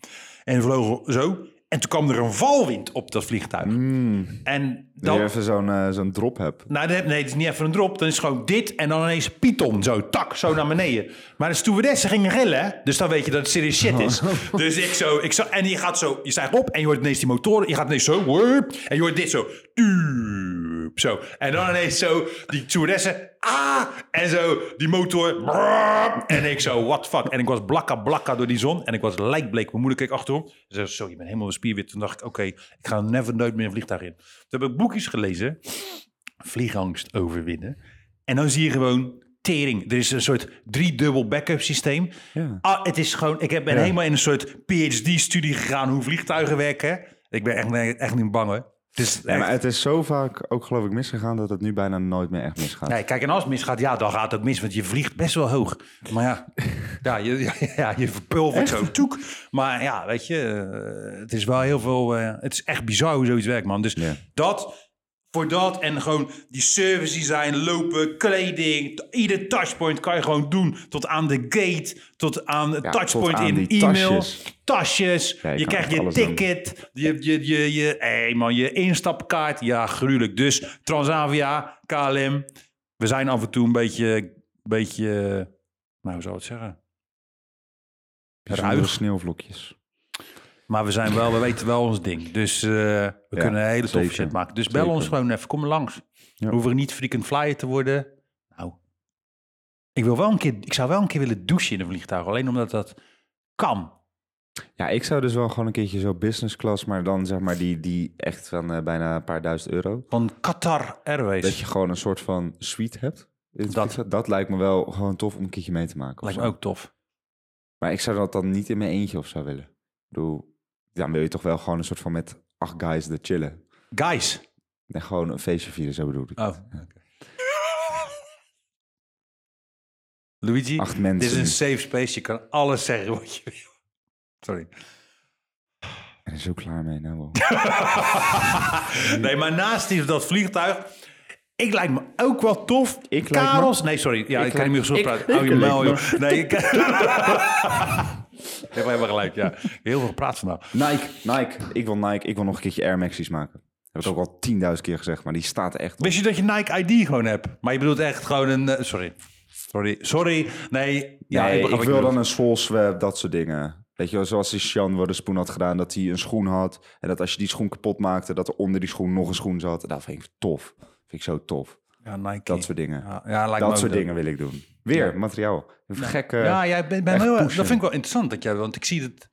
S1: En we vlogen zo. En toen kwam er een valwind op dat vliegtuig.
S2: Mm.
S1: En
S2: Dat
S1: dan...
S2: je even zo'n eh, zo'n drop hebt.
S1: Nou, dat heb- nee, het is niet even een drop. Dan is het gewoon dit en dan ineens Python. Zo, tak, zo naar beneden. Maar de stewardessen gingen gillen. hè? Dus dan weet je dat het serieus shit is. Dus ik zo, ik zo... En je gaat zo... Je stijgt op en je hoort ineens die motoren. Je gaat ineens zo... wup, en je hoort dit zo... Tuup, zo. En dan ineens zo... Die stewardessen... ah! En zo, die motor. brrr, en ik zo, what the fuck? En ik was blakka blakka door die zon. En ik was lijkbleek. Mijn moeder keek achterom. Ze zei, zo, je bent helemaal spierwit. Toen dacht ik, oké, ik ga never nooit meer een vliegtuig in. Toen heb ik boekjes gelezen. Vliegangst overwinnen. En dan zie je gewoon tering. Er is een soort driedubbel backup systeem.
S2: Ja.
S1: Ah, het is gewoon, ik heb- ben
S2: Ja.
S1: helemaal in een soort PhD-studie gegaan hoe vliegtuigen werken. Ik ben echt, echt niet bang hoor. Het is
S2: Ja,
S1: echt-
S2: maar het is zo vaak ook geloof ik misgegaan dat het nu bijna nooit meer echt misgaat.
S1: Nee, kijk, en als het misgaat, ja, dan gaat het mis, want je vliegt best wel hoog. Maar ja, ja je, ja, ja, je verpulvert zo toek. Maar ja, weet je, eh, het is wel heel veel... eh, het is echt bizar hoe zoiets werkt, man. Dus
S2: Ja.
S1: dat, voor dat en gewoon die service design, lopen, kleding... t- Ieder touchpoint kan je gewoon doen. Tot aan de gate, tot aan het
S2: Ja,
S1: touchpoint
S2: tot aan
S1: in
S2: die
S1: e-mail. Tasjes.
S2: tasjes.
S1: je,
S2: Ja, je kan
S1: krijgt
S2: echt
S1: je
S2: nou, alles doen.
S1: ticket, je, je, je, je, hey man, je instapkaart. Ja, gruwelijk. Dus Transavia, KLM. We zijn af en toe een beetje, beetje nou, hoe zou ik het zeggen?
S2: Bijzondere
S1: ruig.
S2: Dus sneeuwvlokjes.
S1: Maar we zijn wel, we weten wel ons ding. Dus eh, we
S2: Ja,
S1: kunnen een hele toffe
S2: zeker.
S1: shit maken. Dus bel
S2: Zeker.
S1: ons gewoon even, kom langs.
S2: Ja.
S1: We hoeven niet frequent flyer te worden. Nou, ik, wil wel een keer, ik zou wel een keer willen douchen in een vliegtuig. Alleen omdat dat kan.
S2: Ja, ik zou dus wel gewoon een keertje zo business class, maar dan zeg maar die, die echt van eh, bijna een paar duizend euro.
S1: Van Qatar Airways.
S2: Dat je gewoon een soort van suite hebt. in het
S1: Dat-
S2: vliegtuig. dat lijkt me wel gewoon tof om een keertje mee te maken. of
S1: Lijkt
S2: zo.
S1: me ook tof.
S2: Maar ik zou dat dan niet in mijn eentje of zo willen. Ik bedoel, dan wil je toch wel gewoon een soort van met acht guys er chillen.
S1: Guys.
S2: En gewoon een feestje vieren, zo bedoel ik.
S1: Oh. Luigi,
S2: Acht
S1: dit is
S2: mensen.
S1: een safe space. Je kan alles zeggen wat je wil. Sorry.
S2: En er is ook klaar mee, nou wel.
S1: Nee, maar naast die, dat vliegtuig... Ik lijkt me ook wel tof.
S2: Ik lijk me-
S1: Karels... Nee, sorry. Ja, ik, kan niet meer zo
S2: ik-
S1: praten.
S2: ik
S1: Hou je
S2: lijk
S1: mel,
S2: me-
S1: joh. Nee, ik... Je hebt helemaal gelijk, ja. Heel veel gepraat vandaag.
S2: Nike, Nike. Ik wil Nike. Ik wil nog een keertje Air Maxies maken. Heb ik ook al 10.000 keer gezegd, maar die staat er echt op.
S1: Wist je dat je Nike ID gewoon hebt? Maar je bedoelt echt gewoon een... eh, sorry. Sorry. Sorry. Nee. Ja,
S2: Nee,
S1: begrijp wat je
S2: ik, wil
S1: bedoelt.
S2: dan een soul swap, dat soort dingen. Weet je, wel, zoals die Sean Woddespoen had gedaan, dat hij een schoen had. En dat als je die schoen kapot maakte, dat er onder die schoen nog een schoen zat. Dat vind ik tof. Vind ik zo tof.
S1: Ja, Nike.
S2: Dat soort dingen.
S1: Ja, ja, lijkt me ook
S2: dat soort
S1: leuk.
S2: dingen wil ik doen. Weer materiaal. Gekke.
S1: Ja, jij bent, bent
S2: echt
S1: heel, dat
S2: pushen.
S1: vind ik wel interessant. Dat jij, want ik zie dat...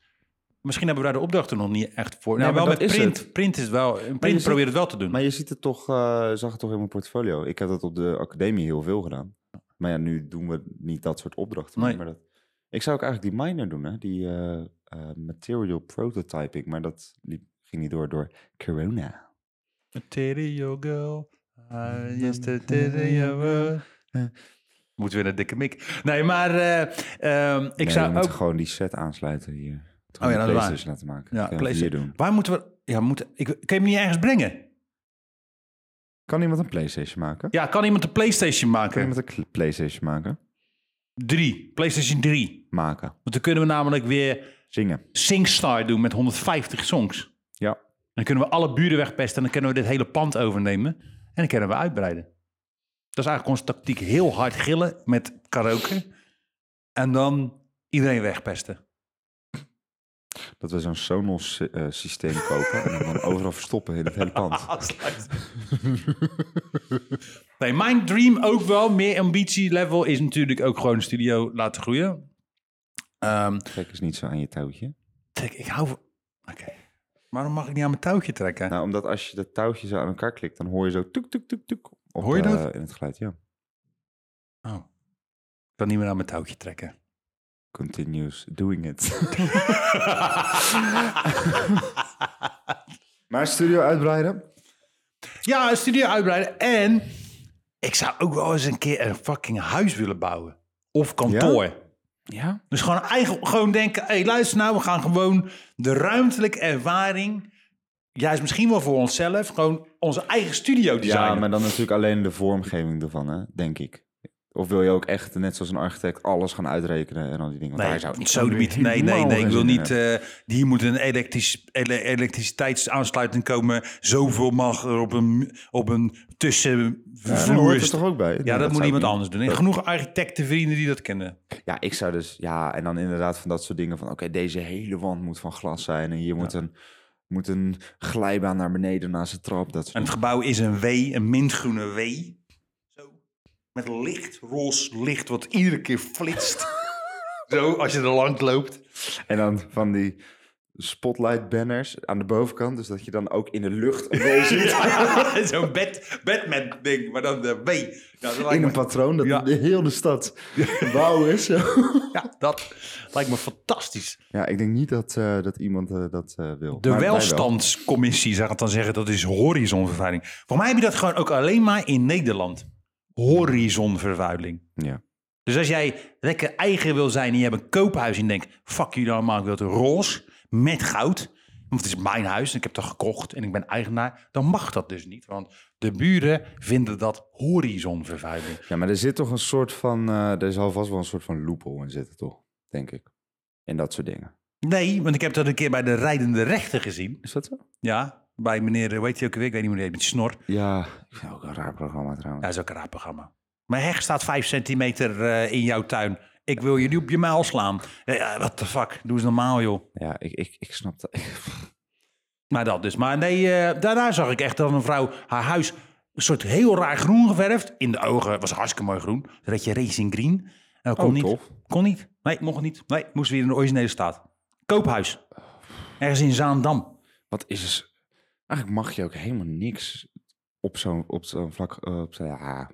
S1: Misschien hebben we daar de opdrachten nog niet echt voor. nou,
S2: maar
S1: wel met
S2: dat is
S1: print.
S2: het.
S1: Print is wel... in Print
S2: ziet-
S1: probeert het wel te doen.
S2: Maar je ziet het toch, eh, zag het toch in mijn portfolio. Ik heb dat op de academie heel veel gedaan. Maar ja, nu doen we niet dat soort opdrachten. meer,
S1: Nee.
S2: Maar dat, ik zou ook eigenlijk die minor doen, hè? die eh, eh, material prototyping. Maar dat liep, ging niet door door corona.
S1: Material girl. I used
S2: Mm-hmm.
S1: to material girl. Moeten we naar dikke mik. Nee, maar eh, ehm, ik
S2: Nee, we
S1: zou ook...
S2: moeten gewoon die set aansluiten hier.
S1: Oh ja, dat is waar.
S2: PlayStation laten maken.
S1: Ja,
S2: Kunnen we
S1: PlayStation.
S2: hier doen.
S1: Waar moeten we... Ja, moeten, ik, kan je hem niet ergens brengen?
S2: Kan iemand een PlayStation maken?
S1: Ja, kan iemand een PlayStation
S2: Kan
S1: maken?
S2: iemand een kl- PlayStation maken?
S1: Drie. PlayStation 3.
S2: Maken.
S1: Want dan kunnen we namelijk weer
S2: Zingen.
S1: SingStar doen met 150 songs.
S2: Ja.
S1: Dan kunnen we alle buren wegpesten en dan kunnen we dit hele pand overnemen. En dan kunnen we uitbreiden. Dat is eigenlijk onze tactiek. Heel hard gillen met karaoke. En dan iedereen wegpesten.
S2: Dat we zo'n Sonos sy- eh, systeem kopen. en dan overal verstoppen in het hele pand.
S1: nee, mijn dream ook wel, meer ambitielevel, is natuurlijk ook gewoon een studio laten groeien. Ehm,
S2: Trek eens niet zo aan je touwtje.
S1: trek, ik hou van... Oké. Waarom mag ik niet aan mijn touwtje trekken?
S2: Nou, omdat als je dat touwtje zo aan elkaar klikt, dan hoor je zo tuk, tuk, tuk, tuk. op
S1: Hoor je
S2: de-
S1: dat?
S2: In het geluid, ja.
S1: Oh. Ik kan niet meer aan mijn touwtje trekken.
S2: Continues doing it. maar studio uitbreiden?
S1: Ja, een studio uitbreiden. En ik zou ook wel eens een keer een fucking huis willen bouwen. Of kantoor.
S2: Ja.
S1: Dus gewoon, eigen, gewoon denken, hey, luister nou, we gaan gewoon de ruimtelijke ervaring... juist misschien wel voor onszelf, gewoon onze eigen studio
S2: Ja,
S1: designen.
S2: maar dan natuurlijk alleen de vormgeving ervan, hè, denk ik. Of wil je ook echt, net zoals een architect, alles gaan uitrekenen en al die dingen? Want
S1: Nee,
S2: daar zou ik
S1: zo de biet. Nee, nee,
S2: helemaal
S1: nee. Ik
S2: geen
S1: wil
S2: zin in
S1: niet. eh, hier moet een elektrisch, ele- elektriciteitsaansluiting komen. Zoveel mag er op een, op een
S2: Ja, daar hoort
S1: tussenvloer.
S2: het toch ook bij? Nee,
S1: Ja, dat, moet
S2: zou ik
S1: iemand
S2: niet.
S1: anders doen. En genoeg architectenvrienden die dat kennen.
S2: Ja, ik zou dus, ja, en dan inderdaad van dat soort dingen van, oké, deze hele wand moet van glas zijn en hier moet, een, moet een glijbaan naar beneden naast de trap. Dat soort
S1: En het gebouw is een W, een mintgroene W. Zo. Met licht, roze licht, wat iedere keer flitst. Zo, als je er langs loopt.
S2: En dan van die spotlight banners aan de bovenkant. Dus dat je dan ook in de lucht een rol ziet.
S1: Zo'n Bat, Batman-ding, maar dan de W. Ja, dat lijkt
S2: In
S1: me-
S2: een patroon dat
S1: Ja.
S2: de hele stad wauw is.
S1: ja, dat lijkt me fantastisch.
S2: Ja, ik denk niet dat, eh, dat iemand eh, dat eh, wil.
S1: De
S2: Maar wij wel.
S1: welstandscommissie zou het dan zeggen, dat is horizonvervuiling. Voor mij heb je dat gewoon ook alleen maar in Nederland. Horizonvervuiling.
S2: Ja.
S1: Dus als jij lekker eigen wil zijn en je hebt een koophuis en je denkt, fuck jullie allemaal, ik wil het roze met goud. Want het is mijn huis en ik heb dat gekocht en ik ben eigenaar. Dan mag dat dus niet, want de buren vinden dat horizonvervuiling.
S2: ja, maar er zit toch een soort van... eh er zal vast wel een soort van loophole in zitten, toch? Denk ik. En dat soort dingen.
S1: Nee, want ik heb dat een keer bij de rijdende rechter gezien.
S2: Is dat zo?
S1: Ja, bij meneer, weet je ook weer, ik weet niet hoe die heet, met Snor.
S2: Ja, ik vind het ook een raar programma trouwens.
S1: Dat is ook een raar programma. Mijn heg staat 5 centimeter eh, in jouw tuin. Ik wil je nu op je muil slaan. Wat de fuck? Doe eens normaal, joh.
S2: Ja, ik, ik, ik snap dat.
S1: Maar dat dus. Maar nee, eh, daarna zag ik echt dat een vrouw haar huis een soort heel raar groen geverfd. In de ogen was hartstikke mooi groen. Dat had je Racing Green. En dat kon
S2: Oh,
S1: niet.
S2: tof.
S1: Kon niet. Nee, mocht niet. Nee, moest weer in de originele staat. Koophuis. Ergens in Zaandam.
S2: Wat is dus... Eigenlijk mag je ook helemaal niks op zo'n op zo'n vlak... eh, op, zo'n- ja,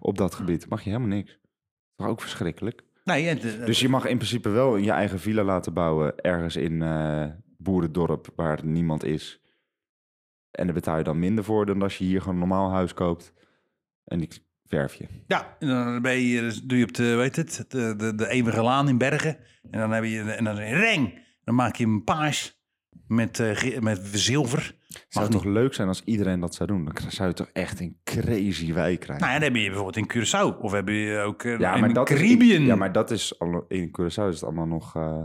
S2: op dat gebied mag je helemaal niks. Toch ook verschrikkelijk.
S1: Nee, en, eh,
S2: Dus je mag in principe wel je eigen villa laten bouwen ergens in eh boerendorp waar niemand is. En daar betaal je dan minder voor dan als je hier gewoon een normaal huis koopt. En die verf je.
S1: Ja, en dan ben je, dus doe je op de, weet het, de, de, de Eeuwige Laan in Bergen. En dan heb je en dan een reng. Dan maak je hem paars met, eh, ge- met zilver.
S2: Zou
S1: Mag
S2: het
S1: niet.
S2: toch leuk zijn als iedereen dat zou doen? Dan zou je toch echt een crazy wijk krijgen.
S1: Nou, en dan heb je bijvoorbeeld in Curaçao. Of heb je ook eh,
S2: ja,
S1: in
S2: maar
S1: de
S2: dat
S1: Caribbean
S2: Is, ja, maar dat is allemaal- in Curaçao is het allemaal nog. eh,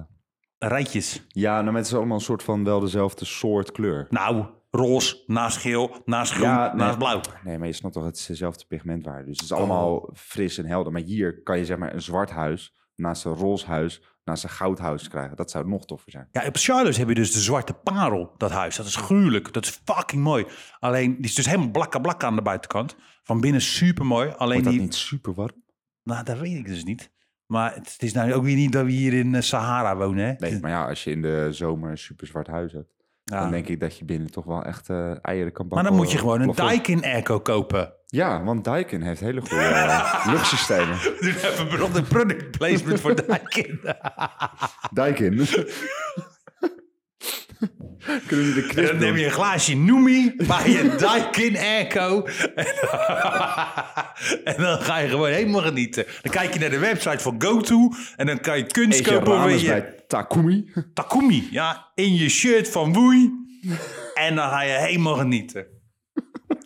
S1: rijtjes.
S2: ja, nou, maar het is allemaal een soort van wel dezelfde soort kleur.
S1: Nou, roze, naast geel, naast groen,
S2: Ja, nee.
S1: naast blauw.
S2: Nee, maar je snapt toch, het is dezelfde pigmentwaarde. Dus het is allemaal
S1: Oh.
S2: fris en helder. Maar hier kan je zeg maar een zwart huis naast een roze huis naast een goud huis krijgen. Dat zou nog toffer zijn.
S1: Ja, op Charloes heb je dus de Zwarte Parel, dat huis. Dat is gruwelijk. Dat is fucking mooi. Alleen, die is dus helemaal blakka blakka aan de buitenkant. Van binnen super mooi. Alleen
S2: Wordt dat
S1: die,
S2: niet super warm?
S1: Nou, dat weet ik dus niet. Maar het het is nou ook weer niet dat we hier in eh, Sahara wonen, hè?
S2: Nee, maar ja, als je in de zomer een super zwart huis hebt,
S1: Ja.
S2: dan denk ik dat je binnen toch wel echt eh, eieren kan
S1: maar
S2: bakken.
S1: dan moet je
S2: op
S1: gewoon
S2: het
S1: een
S2: plafond.
S1: Daikin airco kopen.
S2: Ja, want Daikin heeft hele goede eh, luchtsystemen.
S1: Nu hebben we nog een product placement voor eh. Daikin.
S2: Daikin. Kunnen we de
S1: En
S2: crisp
S1: Dus dan
S2: doen?
S1: neem je een glaasje Noemi bij je Daikin airco. En, en dan ga je gewoon helemaal genieten. Dan kijk je naar de website van GoTo. En dan kan je kunst
S2: Eet je
S1: kopen voor
S2: ramen
S1: je
S2: bij Takumi.
S1: Takumi. Ja, in je shirt van Woei. En dan ga je helemaal genieten.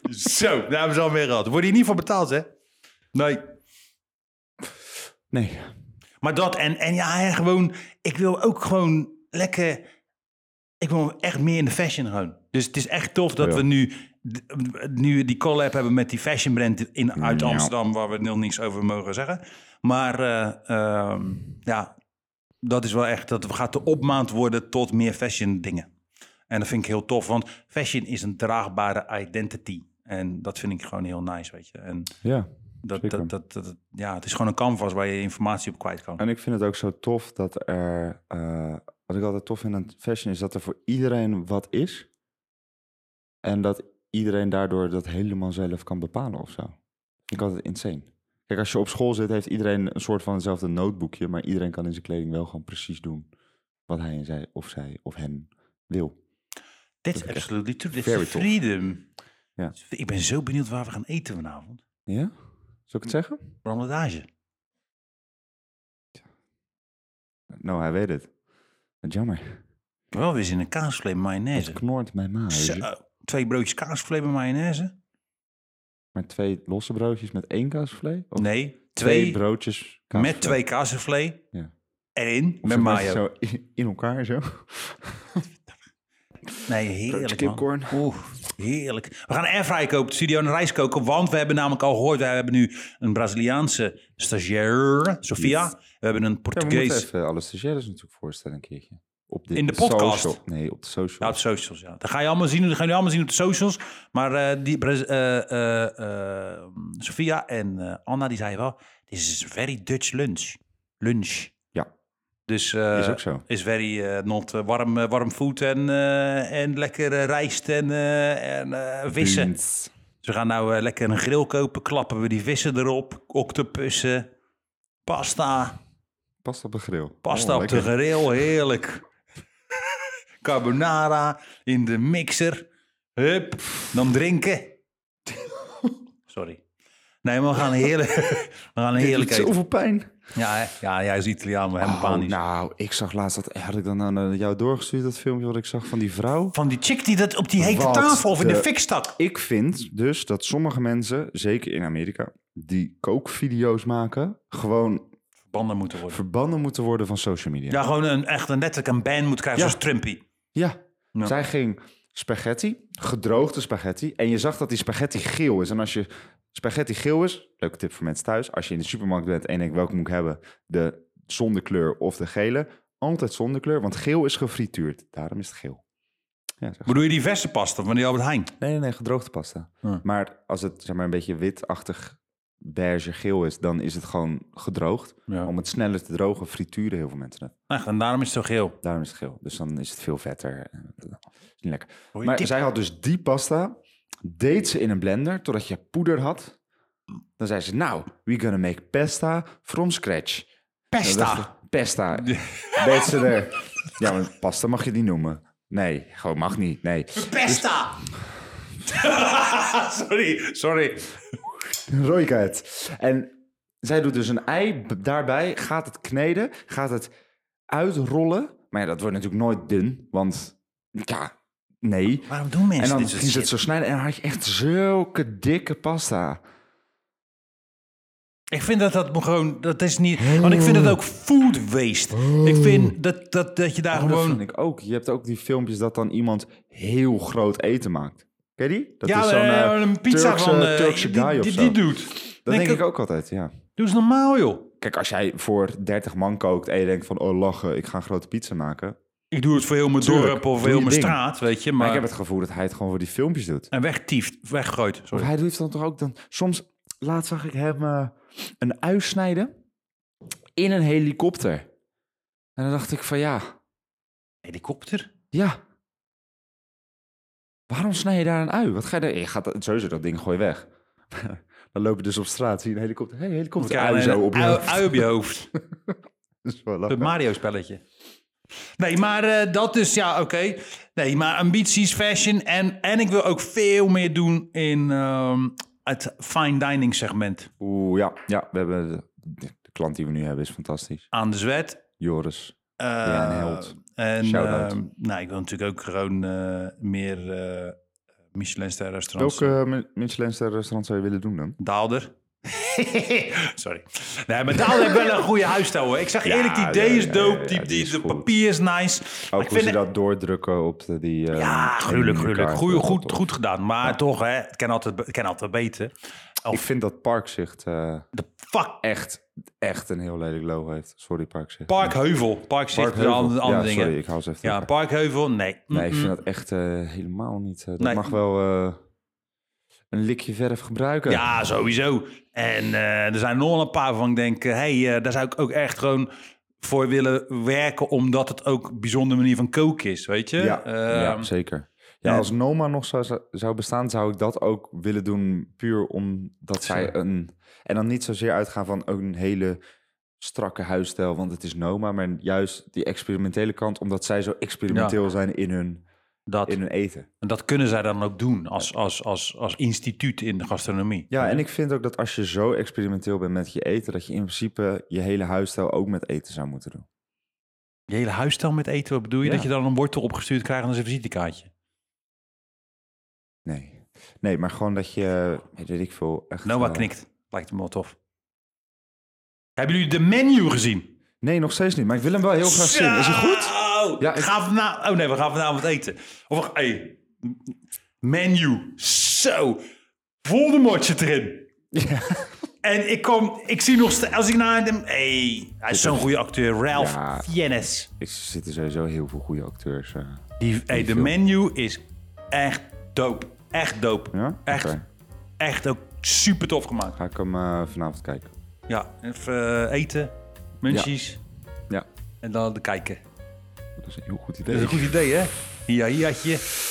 S1: Zo, daar hebben ze alweer gehad. Word je niet voor betaald, hè? Nee.
S2: Nee,
S1: Maar dat en, en ja, hè, gewoon, ik wil ook gewoon lekker. Ik wil echt meer in de fashion gewoon. Dus het is echt tof dat
S2: Ja.
S1: we nu, d- nu die collab hebben met die fashion brand in, uit
S2: Ja.
S1: Amsterdam, waar we nog niks over mogen zeggen. Maar eh, ehm, ja, dat is wel echt, dat gaat de opmaand worden tot meer fashion dingen. En dat vind ik heel tof, want fashion is een draagbare identity. En dat vind ik gewoon heel nice, weet je. En
S2: ja.
S1: dat,
S2: Zeker.
S1: dat, dat, dat- ja, het is gewoon een canvas waar je informatie op kwijt kan.
S2: En ik vind het ook zo tof dat er. eh, wat ik altijd tof vind aan fashion is dat er voor iedereen wat is. En dat iedereen daardoor dat helemaal zelf kan bepalen of zo. Vind ik altijd insane. Kijk, als je op school zit, heeft iedereen een soort van hetzelfde notebookje. Maar iedereen kan in zijn kleding wel gewoon precies doen wat hij en zij of zij of hen wil.
S1: That's
S2: vind ik echt
S1: absolutely true. That's
S2: very
S1: the
S2: tof.
S1: freedom.
S2: Ja.
S1: Ik ben zo benieuwd waar we gaan eten vanavond.
S2: Ja? Zal ik het zeggen?
S1: Brandage.
S2: Nou, hij weet het. Wat jammer.
S1: Ik heb wel weer zin in kaasvlees mayonaise.
S2: Het knort mijn maag.
S1: Zo, eh, twee broodjes kaasvlees en mayonaise?
S2: Maar twee losse broodjes met één kaasvlees? Of
S1: Nee,
S2: twee,
S1: twee,
S2: broodjes
S1: met
S2: kaasvlees?
S1: twee kaasvlees.
S2: Ja.
S1: Erin
S2: Of
S1: met
S2: zo
S1: mayo.
S2: Zo in, in elkaar zo.
S1: Nee, heerlijk man.
S2: Kipcorn.
S1: Oeh, heerlijk. We gaan een airfryer kopen, op de studio en rijst koken. Want we hebben namelijk al gehoord, we hebben nu een Braziliaanse stagiair, Sofia. We hebben een
S2: Ja, we moeten
S1: Portugees.
S2: even alle stagiaires natuurlijk voorstellen een keertje. Op de
S1: In de podcast? Nou,
S2: social- Nee, op de social.
S1: Ja, op socials, ja. Dat ga je allemaal zien, dat gaan jullie allemaal zien op de socials. Maar eh, die, pres- eh, eh, eh, Sophia en eh, Anna, die zeiden wel... This is very Dutch lunch. Lunch.
S2: Ja.
S1: Dus... eh,
S2: is ook zo.
S1: is very eh, not eh, warm, eh, warm food en, eh, en lekker eh, rijst en, eh, en eh, vissen.
S2: Beans.
S1: Dus we gaan nou eh, lekker een grill kopen, klappen we die vissen erop, octopussen, pasta,
S2: Pasta op de grill.
S1: pasta
S2: Oh,
S1: op de
S2: lekker.
S1: grill, heerlijk. Carbonara in de mixer, hup, dan drinken. Sorry. Nee, maar we gaan heerlijk, we gaan
S2: Dit
S1: heerlijk
S2: doet
S1: eten.
S2: Zoveel pijn.
S1: Ja, hè? ja, jij is Italiaan, maar helemaal
S2: Oh,
S1: panisch.
S2: nou, ik zag laatst dat. Had ik dan aan eh, jou doorgestuurd dat filmpje wat ik zag van die vrouw?
S1: Van die chick die dat op die hete
S2: Wat eh,
S1: tafel of in de
S2: de-
S1: fik stak.
S2: Ik vind dus dat sommige mensen, zeker in Amerika, die kookvideo's maken, gewoon
S1: Banden moeten worden.
S2: verbannen moeten worden van social media.
S1: Ja, gewoon een, echt een letterlijk een ban moet krijgen,
S2: Ja.
S1: zoals Trumpy.
S2: Ja.
S1: Ja.
S2: Zij ging spaghetti, gedroogde spaghetti. En je zag dat die spaghetti geel is. En als je spaghetti geel is, leuke tip voor mensen thuis. Als je in de supermarkt bent en denkt welke moet ik hebben, de zonder kleur of de gele. Altijd zonder kleur, want geel is gefrituurd. Daarom is het geel. Ja, zeg.
S1: Bedoel je die versenpasta van die Albert Heijn?
S2: Nee, nee, nee, gedroogde pasta.
S1: Ja.
S2: Maar als het zeg maar, een beetje witachtig beige geel is, dan is het gewoon gedroogd.
S1: Ja.
S2: Om het sneller te drogen, frituren heel veel mensen dat.
S1: Echt, en daarom is het zo geel.
S2: Daarom is het geel. Dus dan is het veel vetter. Eh, is niet lekker.
S1: Goeie
S2: Maar
S1: tip.
S2: zij had dus die pasta, deed ze in een blender totdat je poeder had. Dan zei ze, nou, we gonna make pasta from scratch. Dan dacht
S1: Pesta.
S2: ik, Pesta. deed ze er. Ja, maar pasta mag je niet noemen. Nee, gewoon mag niet. Nee.
S1: Pesta! sorry, sorry.
S2: Rooikheid. En zij doet dus een ei b- daarbij, gaat het kneden, gaat het uitrollen. Maar ja, dat wordt natuurlijk nooit dun, want ja, nee.
S1: Waarom doen mensen
S2: En dan
S1: dit soort
S2: ging ze
S1: shit?
S2: het zo snijden en dan had je echt zulke dikke pasta.
S1: Ik vind dat dat gewoon, dat is niet... Want ik vind dat ook food waste. Ik vind dat, dat, dat je daar
S2: Oh,
S1: gewoon...
S2: Dat vind ik ook. Je hebt ook die filmpjes dat dan iemand heel groot eten maakt. Ken je die? Dat
S1: ja,
S2: is zo'n
S1: eh,
S2: eh,
S1: een pizza
S2: Turkse,
S1: van... eh,
S2: Turkse
S1: die,
S2: guy of
S1: die,
S2: zo.
S1: die doet.
S2: dat
S1: denk
S2: denk
S1: ik-
S2: ik ook altijd, ja.
S1: Doe eens normaal, joh.
S2: Kijk, als jij voor 30 man kookt en je denkt van... oh, lachen, ik ga een grote pizza maken. Maar,
S1: Ik doe het voor heel mijn
S2: Tuurlijk,
S1: dorp of
S2: doe
S1: heel
S2: je
S1: mijn
S2: ding.
S1: straat, weet je. Maar,
S2: ik heb het gevoel dat hij het gewoon voor die filmpjes doet.
S1: En wegtieft, weggooit.
S2: Of
S1: Sorry.
S2: hij doet dan toch ook dan... Soms, laatst zag ik hem eh, een ui snijden in een helikopter. En dan dacht ik van ja,
S1: Helikopter?
S2: ja. Waarom snij je daar een ui? Wat ga je daar... Je gaat dat, sowieso dat ding gooi je weg. dan loop je dus op straat, zie je een helikopter. hey, helikopter,
S1: Ja,
S2: ui
S1: nee,
S2: zo
S1: een
S2: op je
S1: ui-
S2: hoofd.
S1: ui op je hoofd.
S2: Dat is wel
S1: Het
S2: lachen.
S1: Mario-spelletje. Nee, maar eh, dat is, ja, oké. Nee, maar ambities, fashion en, en ik wil ook veel meer doen in ehm, het fine dining segment.
S2: Oeh, ja, ja, we hebben... De, de klant die we nu hebben is fantastisch.
S1: Aan de zwet.
S2: Joris.
S1: eh,
S2: Ja, een held.
S1: En
S2: Shout-out.
S1: ehm, nou, ik wil natuurlijk ook gewoon eh, meer eh Michelinster restaurants.
S2: Welke uh, Michelinster restaurant zou je willen doen dan?
S1: Daalder. Sorry. Nee, maar Daalder heeft wel een goede huisstijl. hoor. Ik zeg
S2: Ja,
S1: eerlijk, die
S2: ja,
S1: D is
S2: ja,
S1: dope.
S2: ja, ja,
S1: die,
S2: die
S1: die,
S2: is
S1: de
S2: goed.
S1: papier is nice. Maar
S2: Ook hoe ze dat doordrukken op de, die... eh,
S1: Ja, gruwelijk,
S2: in
S1: gruwelijk.
S2: elkaar.
S1: Goeie,
S2: Dat is wel
S1: goed,
S2: tof.
S1: goed gedaan. Maar toch, hè, het kan altijd, het kan altijd beter.
S2: Ik vind dat Parkzicht eh,
S1: De fuck
S2: echt, echt een heel lelijk logo heeft. Sorry, Parkzicht.
S1: Parkheuvel. Park zit
S2: Parkheuvel.
S1: de andere, andere
S2: ja,
S1: dingen.
S2: sorry, ik hou ze even
S1: Ja,
S2: terug.
S1: Parkheuvel, nee. Hm.
S2: Nee, ik
S1: Mm-mm.
S2: vind dat echt eh, helemaal niet... eh, dat
S1: Nee.
S2: mag wel eh, een likje verf gebruiken.
S1: Ja, sowieso. En eh, er zijn nog wel een paar van ik denk, hé, hey, eh, daar zou ik ook echt gewoon voor willen werken, omdat het ook een bijzondere manier van koken is, weet je?
S2: ja, ja,
S1: Ehm,
S2: zeker. Ja,
S1: en-
S2: als Noma nog zou, zou bestaan, zou ik dat ook willen doen. Puur omdat zij
S1: Zeker.
S2: een... En dan niet zozeer uitgaan van een hele strakke huisstijl, want het is Noma. Maar juist die experimentele kant, omdat zij zo experimenteel zijn in hun,
S1: dat,
S2: in hun eten.
S1: en dat kunnen zij dan ook doen als, als, als, als instituut in de gastronomie.
S2: Ja, en ik vind ook dat als je zo experimenteel bent met je eten, dat je in principe je hele huisstijl ook met eten zou moeten doen.
S1: Je hele huisstijl met eten, wat bedoel je?
S2: Ja.
S1: Dat je dan een wortel opgestuurd krijgt en een visitekaartje.
S2: Nee. Nee, maar gewoon dat je, weet ik veel, echt...
S1: Noah
S2: eh,
S1: nou, knikt. Lijkt me wel tof. Hebben jullie de menu gezien?
S2: Nee, nog steeds niet, maar ik wil hem wel heel graag zien. Is hij goed?
S1: Ja,
S2: Ja, ik-
S1: Gaan we na- oh nee, we gaan vanavond eten. Of wacht, hey. Menu. Zo. Voldemortje erin. En ik kom, ik zie nog steeds, als ik naar hem, hey, hij is zo'n goede acteur, Ralph
S2: Ja.
S1: Fiennes.
S2: Er zitten sowieso heel veel goede acteurs. eh.
S1: Die, hey, de
S2: film.
S1: menu is echt dope, echt dope,
S2: Ja?
S1: echt,
S2: Oké.
S1: echt ook super tof gemaakt.
S2: Ga ik hem eh, vanavond kijken.
S1: Ja, even eh, eten, munchies
S2: Ja.
S1: en dan kijken.
S2: Dat is een heel goed
S1: Dat
S2: idee.
S1: is een goed idee, hè? Ja, hier had je.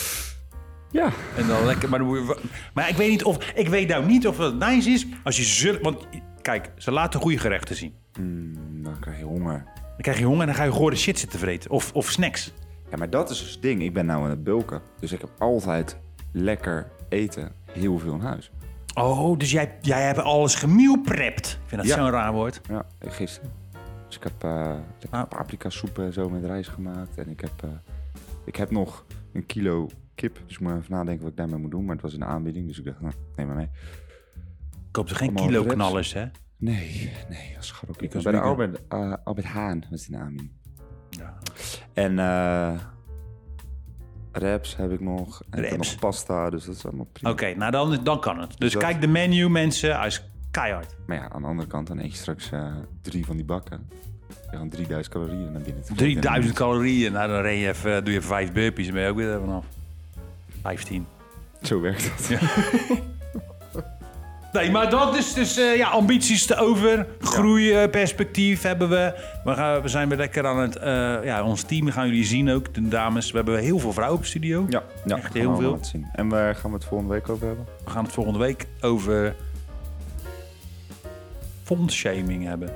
S2: Ja.
S1: En dan lekker. Maar, dan moet je- maar ik weet niet of. Ik weet nou niet of dat nice is. Als je zul. Want kijk, ze laten goede gerechten zien.
S2: Mm, dan krijg je honger.
S1: Dan krijg je honger en dan ga je gore shit zitten vreten. Of, of snacks.
S2: Ja, maar dat is dus het ding. Ik ben nou aan het bulken. Dus ik heb altijd lekker eten. Heel veel in huis.
S1: Oh, dus jij, jij hebt alles gemielprept. Ik vind dat
S2: Ja.
S1: zo'n raar woord.
S2: Ja, eh, gisteren. Dus ik heb eh
S1: Ah.
S2: paprika soep en zo met rijst gemaakt. En ik heb, eh, ik heb nog een kilo kip. Dus ik moet even nadenken wat ik daarmee moet doen. Maar het was een aanbieding. Dus ik dacht, nou, neem maar mee.
S1: Koop er geen
S2: Allemaal
S1: kilo
S2: preps.
S1: knallers, hè?
S2: Nee, nee, dat is ook. Ik
S1: was
S2: was bij de
S1: vegan.
S2: Albert, eh, Albert Haan was die naam.
S1: Ja.
S2: En eh raps heb ik nog. En ik heb
S1: Wraps.
S2: nog pasta, dus dat is allemaal prima.
S1: Oké, nou dan, dan kan het. Dus
S2: dat-
S1: kijk de menu, mensen. Hij is keihard.
S2: Maar ja, aan de andere kant, dan eet je straks eh, drie van die bakken. Je gaan 3000 calorieën naar binnen. te
S1: 3000 calorieën. Nou, dan ren je even, doe je even vijf burpees. Dan ben je ook weer er vanaf. 15.
S2: Zo werkt dat.
S1: Nee, maar dat is dus eh, ja, ambities te over. Groeiperspectief hebben we. We, gaan, we zijn weer lekker aan het... eh, ja, ons team gaan jullie zien ook, de dames. We hebben heel veel vrouwen op studio.
S2: Ja, ja
S1: Echt
S2: gaan we
S1: heel
S2: allemaal
S1: veel.
S2: laten zien. En waar gaan we het volgende week over hebben?
S1: We gaan het volgende week over... fondshaming hebben.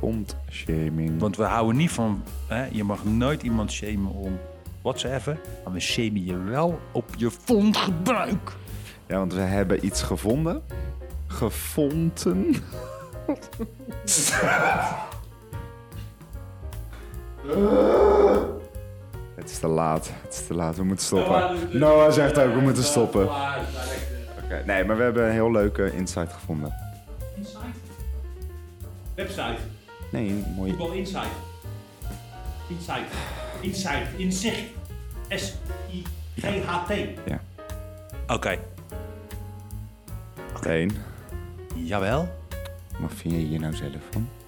S2: Ontshaming.
S1: Want we houden niet van... Hè, je mag nooit iemand shamen om whatsoever. Maar we shamen je wel op je fondgebruik.
S2: Ja, want we hebben iets gevonden. Gevonden. Het is te laat. Het is te laat. We moeten stoppen. Noah zegt ook, we moeten stoppen. Oké, nee, maar we hebben een heel leuke insight gevonden.
S1: Insight. Website.
S2: Nee, een mooie...
S1: Voetbal Insight. Insight. Insight. Inzicht. S-I-G-H-T.
S2: Ja.
S1: Oké.
S2: Leen,
S1: Jawel.
S2: wat vind je hier nou zelf van?